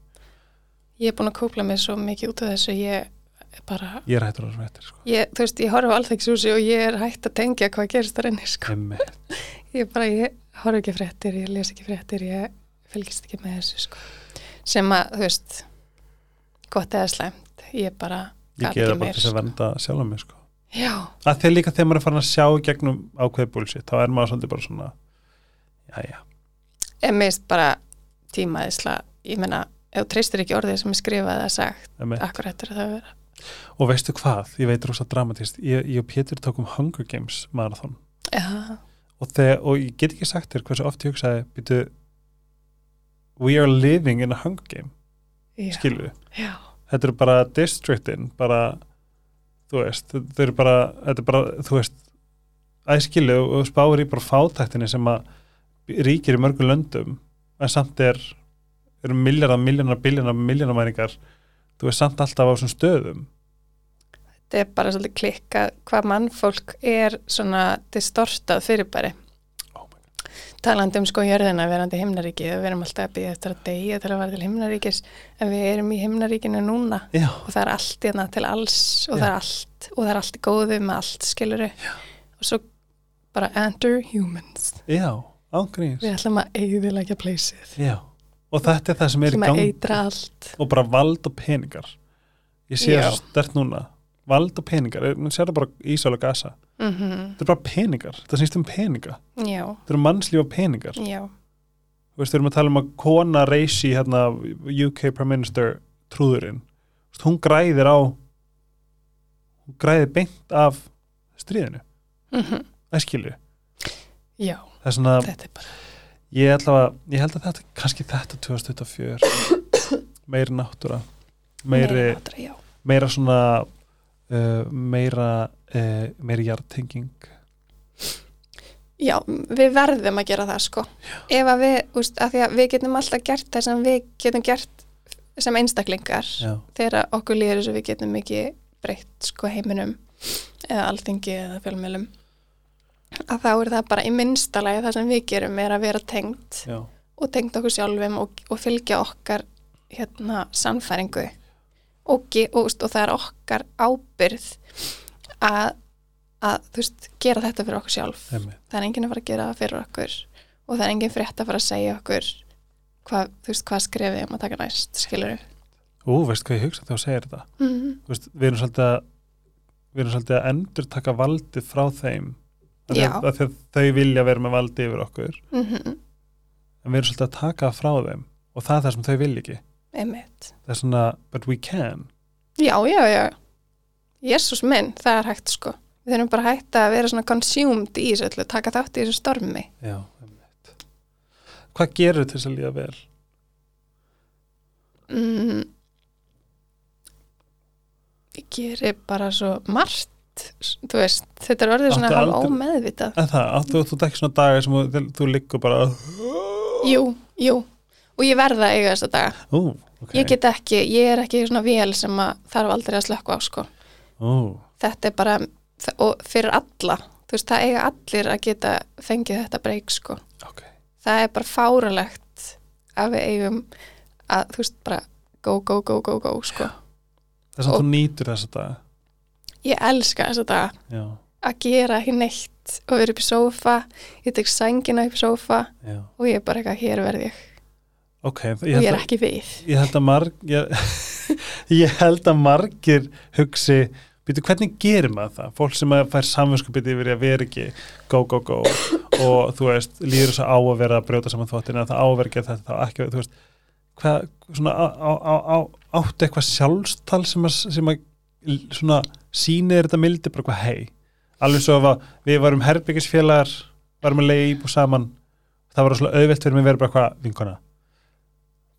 Ég er búin að kúpla mig svo mikið út af þessu, ég er bara,
ég er hættur að sveitir, sko
ég, þú veist, ég horf á alþegshúsi og ég er hægt að tengja hvað gerist þar inni, sko.
Einmitt.
Ég bara, ég horf ekki á fréttir, ég les ekki fréttir, ég fylgist ekki með þessu sko. Sem að, þú veist, gott eða slæmt, ég bara
ég
gat
geða
ekki
bara
meir,
til þess að
sko.
vernda sjálf mig, sko
Já,
að þegar líka þegar maður er farin að sjá í gegnum ákveði búlsi, þá er maður svolítið bara svona jæja,
en mist bara tímaðisla, ég meina, ef þú treystir ekki orðið sem er skrifað eða sagt,
emmi
akkur hættur það að vera.
og veistu hvað, ég veit rosa dramatist ég, ég og Pétur tókum Hunger Games marathon
Já,
og, þegar, og ég get ekki sagt þér hversu oft ég hugsaði býtu we are living in a hunger game
já,
skilu,
já,
þetta eru bara districtin, bara þú veist, þau eru bara, þetta er bara þú veist, æskilu og spáir í bara fátæktinni sem að ríkir í mörgum löndum en samt er eru milljarða, milljarða, billjarða, milljarðamæningar þú veist samt alltaf á þessum stöðum
þetta er bara svolítið klikkað hvað mannfólk er svona distortað fyrirbæri.
oh my God.
talandi um sko jörðina verandi himnaríkið við erum alltaf að býja eftir að deyja til að vera til himnaríkis en við erum í himnaríkinu núna
Já,
og það er allt hérna til alls og það er allt og það er allt í góðu með allt skiluru Já. og svo bara enter humans
já, ángríns
við ætlum að eigðilega pleysið
Já, og þetta er það sem er í
sem að
gangi
eitra allt
og bara vald og peningar ég sé
Já.
það svo stert núna vald og peningar, er- nú sér það bara í Ísal og Gaza,
mm
þetta er bara peningar það snýst um peninga,
já,
þetta eru mannslíf og peningar
já,
þú veist, við erum að tala um að kona reysi hérna, UK Prime Minister trúðurinn, Þú veist, hún græðir á hún græðir beint af stríðinu,
mm
æskilju
já,
það er svona,
þetta er bara
ég ætla að ég held að þetta, kannski þetta 2024 meiri náttúra meiri,
meira átra, já,
meira svona uh, meira uh, meiri jartenging
já, við verðum að gera það sko, ef að við úst, að því að við getum alltaf gert það sem við getum gert sem einstaklingar
já,
þegar okkur líður þess að við getum ekki breytt sko heiminum eða alþingi eða fjölmjölum að þá er það bara í minnsta lagi það sem við gerum er að vera tengt
já,
og tengt okkur sjálfum og, og fylgja okkar hérna sannfæringu og, ge- og, veist, og það er okkar ábyrð að, að þú veist, gera þetta fyrir okkur sjálf
emmi,
það er enginn að fara að gera það fyrir okkur og það er enginn frétt að fara að segja okkur hvað, þú veist, hvað skrefið um að taka næst, skilur við
ú, veist hvað ég hugsa þegar þú segir þetta Þú veist, við erum svolítið að við erum svolítið að endur taka valdið frá þeim af því
Já.
að, af því að þau vilja vera með valdi yfir okkur
-hmm.
en við erum svolítið að taka það frá þeim og það er það sem þau vilja ekki
Einmitt.
það er svona, but we can
Já, já, já. Jésús minn, það er hægt sko. Við þurfum bara að hætta að vera svona consumed í þessu öllu, taka þátt í þessu stormi.
Já, einmitt. hvað gerur til þess að líða vel
Mm. Ég geri bara svo margt, s- þú veist, þetta er orðið svona
Áttu
hálf
aldrei-
ómeðvitað.
en það, áttu, þú, þú ert ekki svona daga sem þú, þú liggur bara
Jú, jú, og ég verða að eiga þessa daga.
ú, ok
Ég get ekki, ég er ekki svona vél sem að þarf aldrei að slökka á sko.
ú,
Þetta er bara, og fyrir alla, þú veist, það eiga allir að geta fengið þetta breyk sko.
ok
það er bara fáralegt að við eigum að þú veist bara go, go, go, go, go sko.
það er svona
Og-
þú nýtur þessa daga
ég elska þess að það
já,
að gera ekki neitt og vera upp í sófa ég tek sængina upp í sófa
já,
og ég er bara eitthvað hér verð ég
ok ég
og
held
ég
að-
er ekki við
ég held að marg ég, ég held að margir hugsi býtu hvernig gerir maður það fólk sem að fær samvinskupið yfir í að vera ekki go go go og þú veist líður þess að á að vera að brjóta saman þvottina það á að vera að gera þetta þá ekki þú veist hvað svona á, á, á, á, áttu eitthvað sjálfstal sem að, sem að l- svona sýnir þetta mildi bara hvað hei alveg svo ef að við varum herbyggisfélagar varum að leiða íbú saman það var svona auðvelt fyrir mig að vera bara hvað vinkona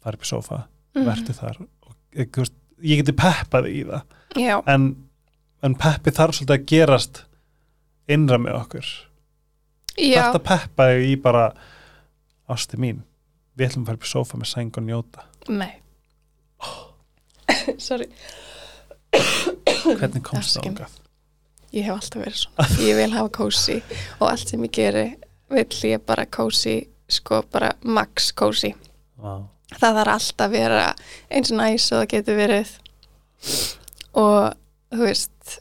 fara upp í sófa
Mm. Mhm.
verður þar og, eh, þú veist, ég geti peppað í það
já,
en, en peppi þarf svolítið að gerast innra með okkur
já,
þetta peppaði í bara ásti mín, við ætlum að fara upp í sófa með sæng og njóta,
nei sorry,
hvernig komst það
Afsakið.
ángað
ég hef alltaf verið svona ég vil hafa kósi og allt sem ég geri vill ég bara kósi sko bara max kósi
wow.
það þarf alltaf að vera eins og næs og það getur verið og þú veist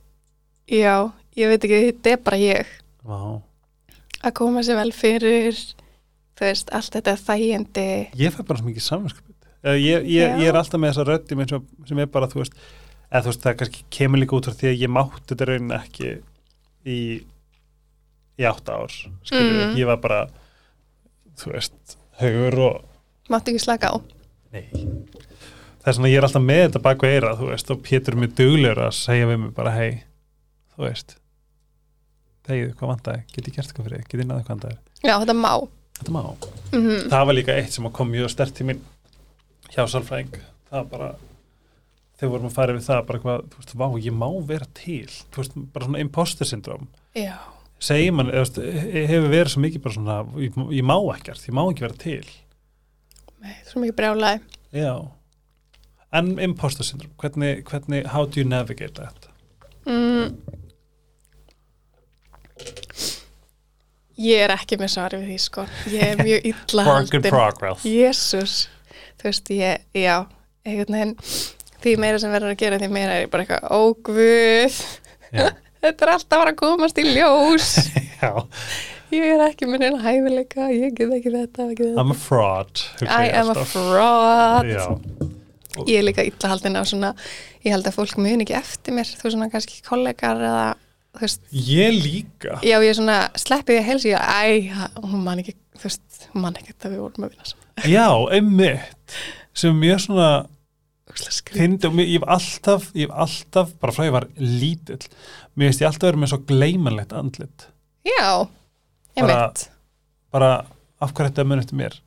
já, ég veit ekki, þetta er bara ég
wow.
að koma sér vel fyrir þú veist, allt þetta þægindi
ég fæ bara svo mikið samvinskupið ég, ég, ég er alltaf með þessa röddi minn sem, sem er bara, þú veist, eða, þú veist það kannski kemur líka út frá því að ég mátti þetta raunin ekki í í átta ár skilur,
Mm.
ég var bara þú veist, haugur og
máttu ekki slaka á
Nei. Það er svona, ég er alltaf með þetta baku eira, þú veist, og Pétur er mjög duglegur að segja við mig bara, hei, þú veist, þegið, hvað vantaði, get ég gert eitthvað fyrir, þig? get ég náðu hvað vantaði,
já, þetta má
þetta má.
mm
Það var líka eitt sem að kom mjög stert til mín hjá sálfræðing, það var bara, þegar vorum að fara við það, bara hvað, þú veist, vá, ég má vera til, þú veist, bara svona imposter syndrom,
já,
segir mann, eða, þú veist, hefur verið svo mikið bara svona, ég, ég má ekkert, ég má ekki vera til.
nei, þú erum ekki brjálaði
Já En imposter syndrome, hvernig, hvernig how do you navigate that?
mm. ég er ekki með svari við því sko ég er mjög illa haldin
progress
Jésús, þú veist, ég, já, einhvern veginn, því meira sem verður að gera, því meira er ég bara eitthvað, ó guð,
Já,
þetta er alltaf að fara að komast í ljós,
já.
ég er ekki með neina hæfileika, ég get ekki þetta, ekki þetta.
I'm a fraud hugsa
I
ég
am a
alltaf.
fraud.
Já,
ég er líka illa haldin á svona ég held að fólk muni ekki eftir mér þú svona kannski kollegar eða þú veist,
Ég líka
já ég er svona sleppið ég helsi, ég, æ, ha- hún man ekki þú veist, hún man ekki að við vorum að vinna saman
Já, einmitt sem er mjög svona
Ógeðslega skrýtið.
þyndi og mér- ég hef alltaf, ég hef alltaf bara frá ég var lítill mér veist ég alltaf verið með svo gleymanlegt andlit
já, ég
Bara-
mitt
bara af hverju þetta munið eftir mér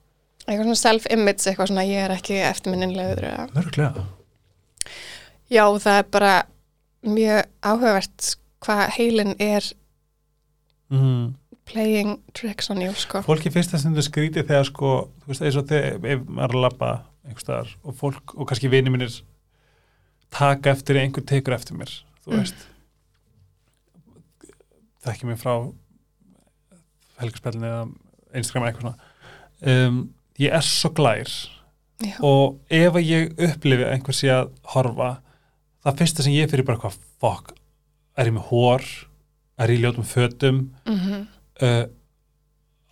eitthvað svona self-image, eitthvað svona ég er ekki eftirminnilegur eða
Mörglega
Já, það er bara mjög áhugavert hvað heilin er
mm.
playing tricks on you, sko.
Fólki fyrsta sem þau skrítið þegar sko, þú veist, eins og þegar ef maður er að labba einhvers staðar og fólk og kannski vini mínir taka eftir ef einhver tekur eftir mér, þú
Mm.
veist þekki mér frá helgarspellinu eða Instagram eða eitthvað svona um, ég er svo glær
Já,
og ef að ég upplifi að einhver sé að horfa það fyrsta sem ég fyrir bara hvað fokk, er ég með hór er ég í ljótum fötum
mm
uh,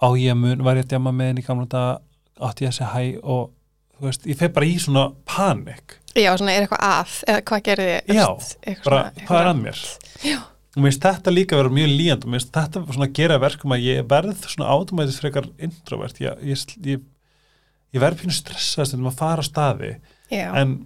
á ég að mun var ég að djama með henni í gamla daga átti ég að segja hæ og þú veist, ég fer bara í svona panik
já svona er eitthvað að, eða hvað gerði ég?
Já,
eitthvað
bara
eitthvað
hvað er að mér
Já.
og mér finnst þetta líka vera mjög líðand og mér finnst þetta svona gera verkum að ég verð svona átumætis frekar introvert ég, ég, ég, ég verð pínu stressað sem að fara á staði
Já,
en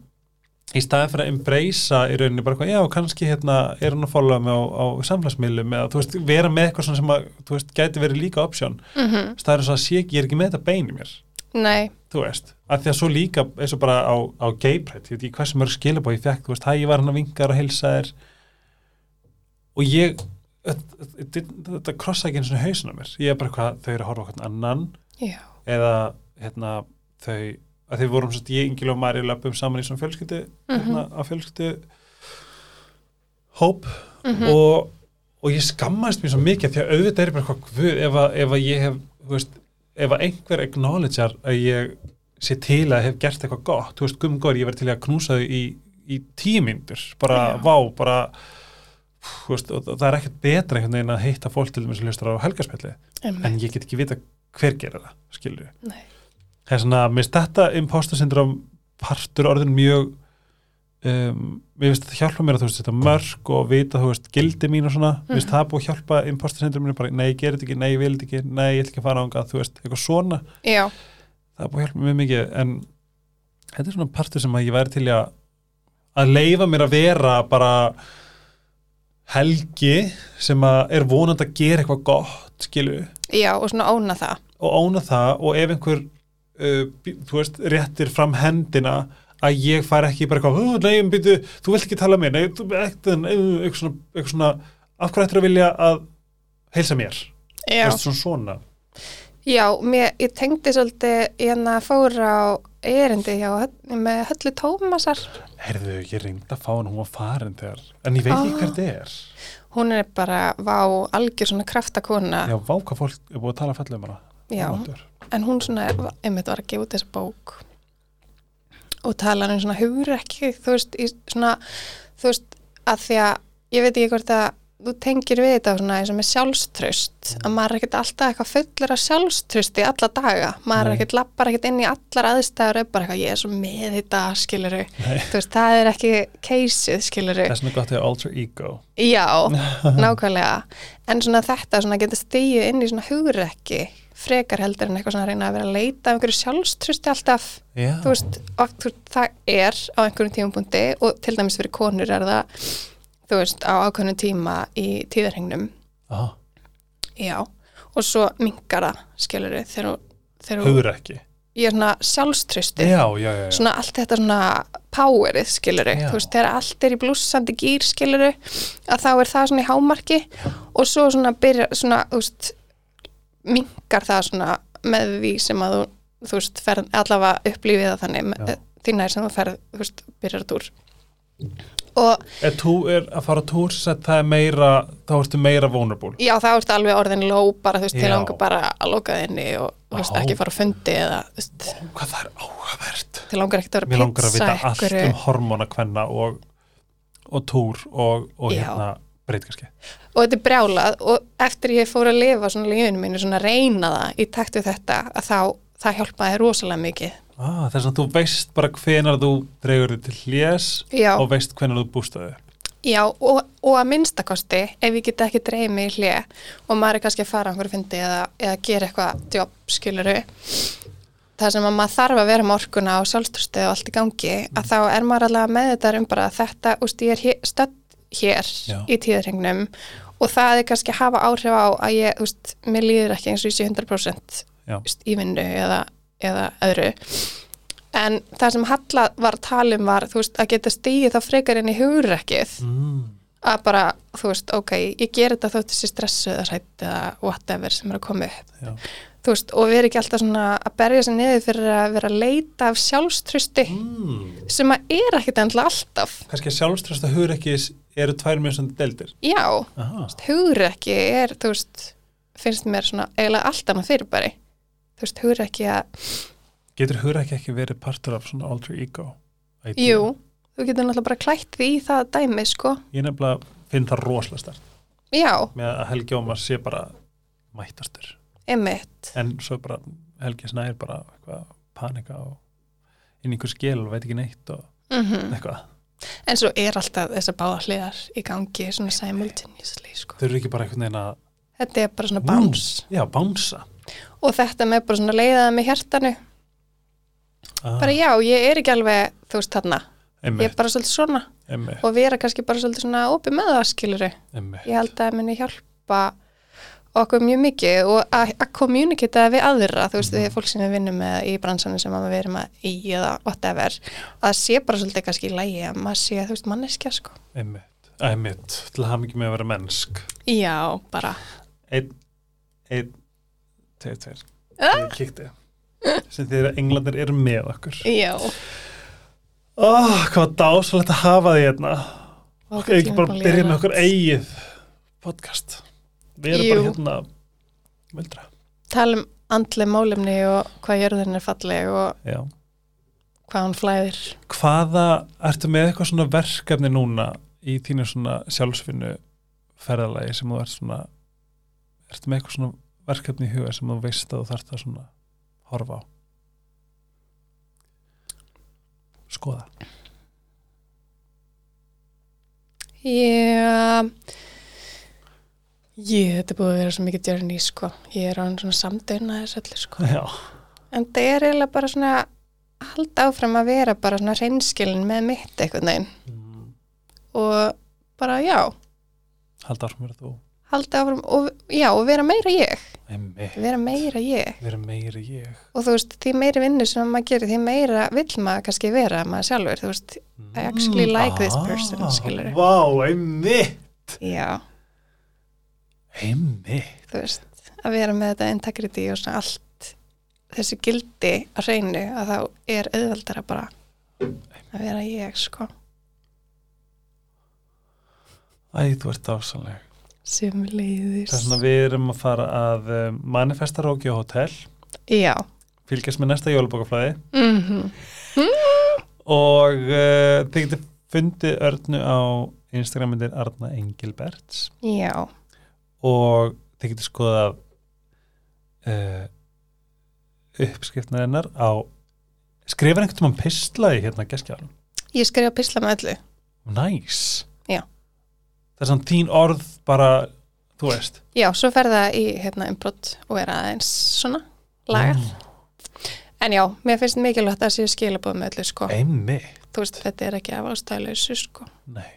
í staðin fyrir að embracea í rauninni bara hvað, já, kannski hérna er hún að followa mig á, á samfélagsmiðlum eða þú veist, vera með eitthvað svona sem að þú veist, gæti verið líka option
mm
staðar þess að sé ekki, ég er ekki með þetta bein í mér
nei,
þú veist, af því að svo líka eins og bara á, á gay pride, ég veit ekki hversu mörg skilabóð ég fekk, þú veist, hæ, ég var hann að vingar og heilsa þér og ég þetta- þetta þetta krossa ekki einu svona hausin á mér ég er bara hvað, þau eru að horfa okkur annan
já,
eða, hérna, þau að þau vorum svo ég, Ingil og Mari löpum saman í svona fjölskyldu hérna, á fjölskyldu hóp
Mhm.
og, og ég skammaðist mér svo mikið því að auðvitað er ég bara hvað guð ef að, ef að ég hef, þú veist, ef að einhver acknowledgear að ég sé til að hef gert eitthvað gott, þú veist, gumgóri ég verið til í að knúsa þau í, í tímyndur bara,
Já.
vá, bara þú veist, og það er ekkert betra einhvern veginn að hitta fólk til þeim sem hlustar á helgarspjalli en
emmi,
ég get ekki vita hver gerir það, skilur við
nei,
það er svona, mér finnst þetta imposter syndrom partur orðin mjög um, mér finnst þetta hjálpa mér að þú veist þetta mörg og vita þú veist gildi mín og svona, mér finnst það búið að hjálpa imposter syndrominu bara, nei, ég gerir þetta ekki, nei, ég vil þetta ekki nei, ég ætla ekki að fara ánga, þú veist, eitthvað svona
já,
það er búið að hjálpa mér mjög mikið en þetta er svona partur sem að ég væri til í að að leifa mér að vera bara helgi sem að er vonandi að gera eitthvað gott, skilu
já, og svona óna það.
og óna það og ef einhver uh, bý- þú veist, réttir fram hendina að ég fær ekki bara eitthvað "Ú, nei, um, býtu, þú vilt ekki tala mér nei, þú, ekki, nei, uh, eitthvað, svona, eitthvað svona af hverju ættir að vilja að heilsa mér, þú
Já,
veist, svona svona
já mér, ég tengdi svolítið, ég hérna fór á erindi hjá, Höll- með höllu Tómasar.
heyrðu, ég reyndi að fá hann hún var farin þegar, en ég veit ekki
Ah.
hver þetta er
Hún er bara, vá, algjör svona kraftakona.
já, vá hvað fólk er búið að tala fallega um hana
Ah. já.
Hún áttur.
en hún svona einmitt var að gefa út þessa bók og tala um svona hugrekki þú veist, í svona þú veist, að því að ég veit ekki hvort að þú tengir við þetta svona eins og með sjálfströst að maður er ekkert alltaf eitthvað fullur af sjálfströsti alla daga, maður er
Nei.
ekkert lappar ekkert inn í allar aðstæður er bara eitthvað ég er svo með þetta skiluru
Nei.
þú veist, það er ekki keysið skiluru
þess vegna gott ég alter ego
Já, nákvæmlega en svona þetta, svona geta stegið inn í svona hugrekki frekar heldur en eitthvað svona að reyna að vera að leita af einhverju sjálfstrusti alltaf
já,
þú veist, og, þú, það er á einhverjum tímapunkti og til dæmis fyrir konur er það þú veist, á ákveðnum tíma í tíðarhengnum
ah,
já, og svo minkar það skilur við, þegar, þú- þegar þú-
hugur ekki
ég er svona sjálfstrusti
já, já, já, já.
svona allt þetta svona powerið skiluru,
Já.
þú veist, þegar allt er í blúsandi gýr skiluru, að þá er það svona í hámarki og svo svona byrja, svona, þú veist mingar það svona með því sem að þú, þú veist, ferð allavega upplýfið það þannig,
Já.
með, þína er sem þú ferð, þú veist, byrjar að úr og
ef þú er að fara á túr sem sagt, það er meira, þá ertu meira vulnerable
já, þá ertu alveg orðin ló bara, þú veist, til
Já.
langar bara að loka þinni og, þú veist,
Vá.
ekki fara að fundi eða, þú veist,
Ó, hvað það er áhugavert
til langar ekki að
Mér
vera að
langar að
pizza
vita allt
einhverju.
um hormóna kvenna og, og túr og, og
Já.
hérna breytkarski
og þetta er brjálað og eftir ég fór að lifa svona lífinu mínu svona reyna það í takt við þetta að þá það hjálpaði rosalega mikið
ah, þess að þú veist bara hvenar þú dregur þig til hljés
Já,
og veist hvenar þú bústaði
já og, og að minnstakosti ef ég get ekki dreigð mig í hlje og maður er kannski að fara á einhverju fyndi eða, eða gera eitthvað jobb skiluru það sem að maður þarf að vera með orkuna og sjálfströstu og allt í gangi að þá er maður allavega með þetta um bara að þetta úst, ég er hér, stödd hér
Já.
í tíðrengnum og það er kannski að hafa áhrif á að ég, úst, mér líður ekki eins og ég sé 100%
Já.
úst, í vinnu eða, eða öðru en það sem Halla var að tala um var þú veist, að geta stíið þá frekar inn í hugrekkið
mm.
að bara, þú veist, ok, ég ger þetta þótt þessi stressu eða sætt eða whatever sem er að koma upp
Já.
þú veist, og vera ekki alltaf svona að berja sér niður fyrir að vera að leita af sjálfstrusti
Mm.
sem að er ekkit endla alltaf
kannski að sjálfströsta hugur ekki eru tvær mjög svona deildir
já,
Aha.
hugur ekki er, þú veist finnst mér svona eiginlega allt annað fyrirbæri þú veist, hugur ekki að,
getur hugur ekki ekki verið partur af svona alter ego Idea?
jú þú getur náttúrulega bara klætt því í það dæmi, sko
ég nefnilega finn það rosalega stert
já,
með að Helgi Ómar sé bara mættastur
einmitt
en svo bara Helgi Snær bara eitthvað panika og inn í einhver skil og veit ekki neitt og
mm
eitthvað
en svo er alltaf þessar báða hliðar í gangi, svona simultaneously, sko
þau eru ekki bara einhvern veginn að
þetta er bara svona báns
já, bánsa
og þetta með bara svona leiðaða með hjartanu
ah,
bara já, ég er ekki alveg, þú veist, þarna ég er
emmi,
bara svolítið svona
emmi,
og vera kannski bara svolítið svona opið með það skiluru
emmi
ég held að það muni hjálpa okkur mjög mikið og að að kommunikita við aðra, þú veist, við fólk sem við vinnum með í bransanum sem að við erum að í eða whatever, að það sé bara svolítið kannski í lægi að maður sé, þú veist, manneskja sko.
emmi, emmi til að hafa mikið með að vera mennsk
Já, bara
einn, einn, tveir, tveir
Ah!
ég kíkti sem þeir að englandir eru með okkur
Já,
oh, hvað dásalegt að hafa því hérna Ok, ekki bara byrja með okkur eigið podcast. Við erum
Jú.
bara hérna möldra.
Tala um andlega málumni og hvað jörðin er falleg og
Já.
hvað hann flæðir
Hvaða, ertu með eitthvað svona verkefni núna í þínu svona sjálfsfinnu ferðalagi sem þú ert svona, ertu með eitthvað svona verkefni í huga sem þú veist að þú þarft að svona horfa á? Skoða.
Já Ég, þetta er búið að vera svo mikið journey sko, ég er á hann svona samdöina þess öllu sko,
Já.
en það er eiginlega bara svona að halda áfram að vera bara svona reynskilin með mitt eitthvað neginn
Mm.
og bara já,
Halda áfram verið þú.
halda áfram og já, og vera meira ég,
Emmi.
vera meira ég
Við erum meiri ég.
og þú veist, því meiri vinnu sem maður gerir, því meira vill maður kannski vera maður sjálfur, þú veist, I actually like this person,
Mm.
skilurðu.
Ah. Vá, emmi.
já,
Emmi.
þú veist, að vera með þetta integrity og svona allt þessu gildi á hreinu að þá er auðveldara bara að vera ég sko
Æ, þú ert dásaleg.
sem leiðis
Þess vegna við erum að fara að um, manifesta Róki á hótel,
já,
fylgjast með næsta jólubókaflæði
mm
og uh, þið getur fundið örnu á Instagramindir Arna Engilberts
já
og þið getur skoðað uh, uppskrifnar hennar á skrifar einhvern tímann pislaði hérna geskjáðum.
ég skrifa pisla með öllu
Næs. Nice.
Já.
Það er svona tín orð bara, þú veist.
já, svo fer það í hérna umbrott og er aðeins svona lagað
Mm.
en já, mér finnst mikilvægt að séu skilabóð með öllu sko
Emmi.
þú veist, þetta er ekki af ástæðlausu sko
Nei,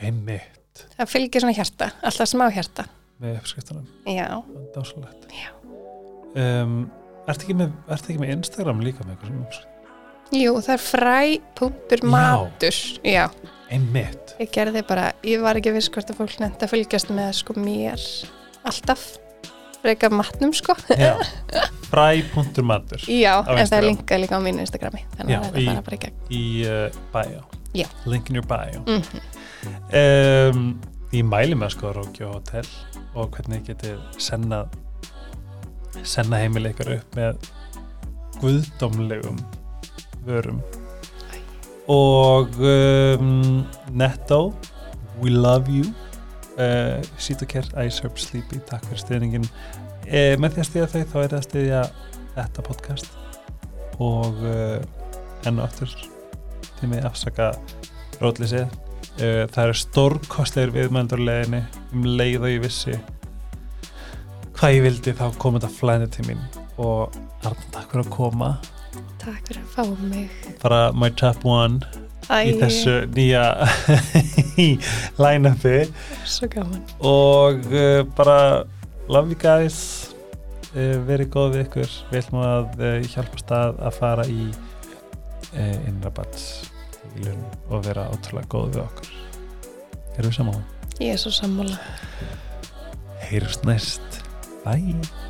emmi
það fylgir svona hjarta, alltaf smá hjarta
með uppskriftunum.
já,
dásalegt
Já.
um, ertu, ekki með, ertu ekki með Instagram líka með eitthvað sem uppskrift?
jú, það er fræ.matur já, já.
einmitt
Ég gerði bara, ég var ekki viss hvort að fólk nefndi að fylgjast með sko mér alltaf, reyka matnum sko.
fræ.matur
Já, en það
Instagram.
er linkað líka á mínu Instagrami, þannig
Já,
að
í-
þetta fara bara í gegn.
í uh, bio
Já.
link in your bio
Mm
um, ég mæli með sko Rókjó Hotel og hvernig þið getið sennað senna heimil ykkar upp með guðdómlegum vörum
Æ.
og um, Netto We Love You uh, Sitocare, Ice Herb Sleepy takk Eh, fyrir stuðningin uh, með því að stuðja þau þá er það að stuðja þetta podcast og uh, enn og aftur til mig afsaka rótleysið uh, það eru stórkostleir viðmældur leginni um leið og ég vissi hvað ég vildi þá kom þetta flæðið til mín og Arna, takk fyrir að koma
Takk fyrir að fá mig.
bara my top one í þessu nýja line-upi
Svo gaman.
og uh, bara love you guys uh, verið góð við ykkur við ætlum að uh, hjálpa stað að fara í uh, innrabat og vera ótrúlega góð við okkur erum við saman
Ég er svo sammála.
heyrjumst næst, bye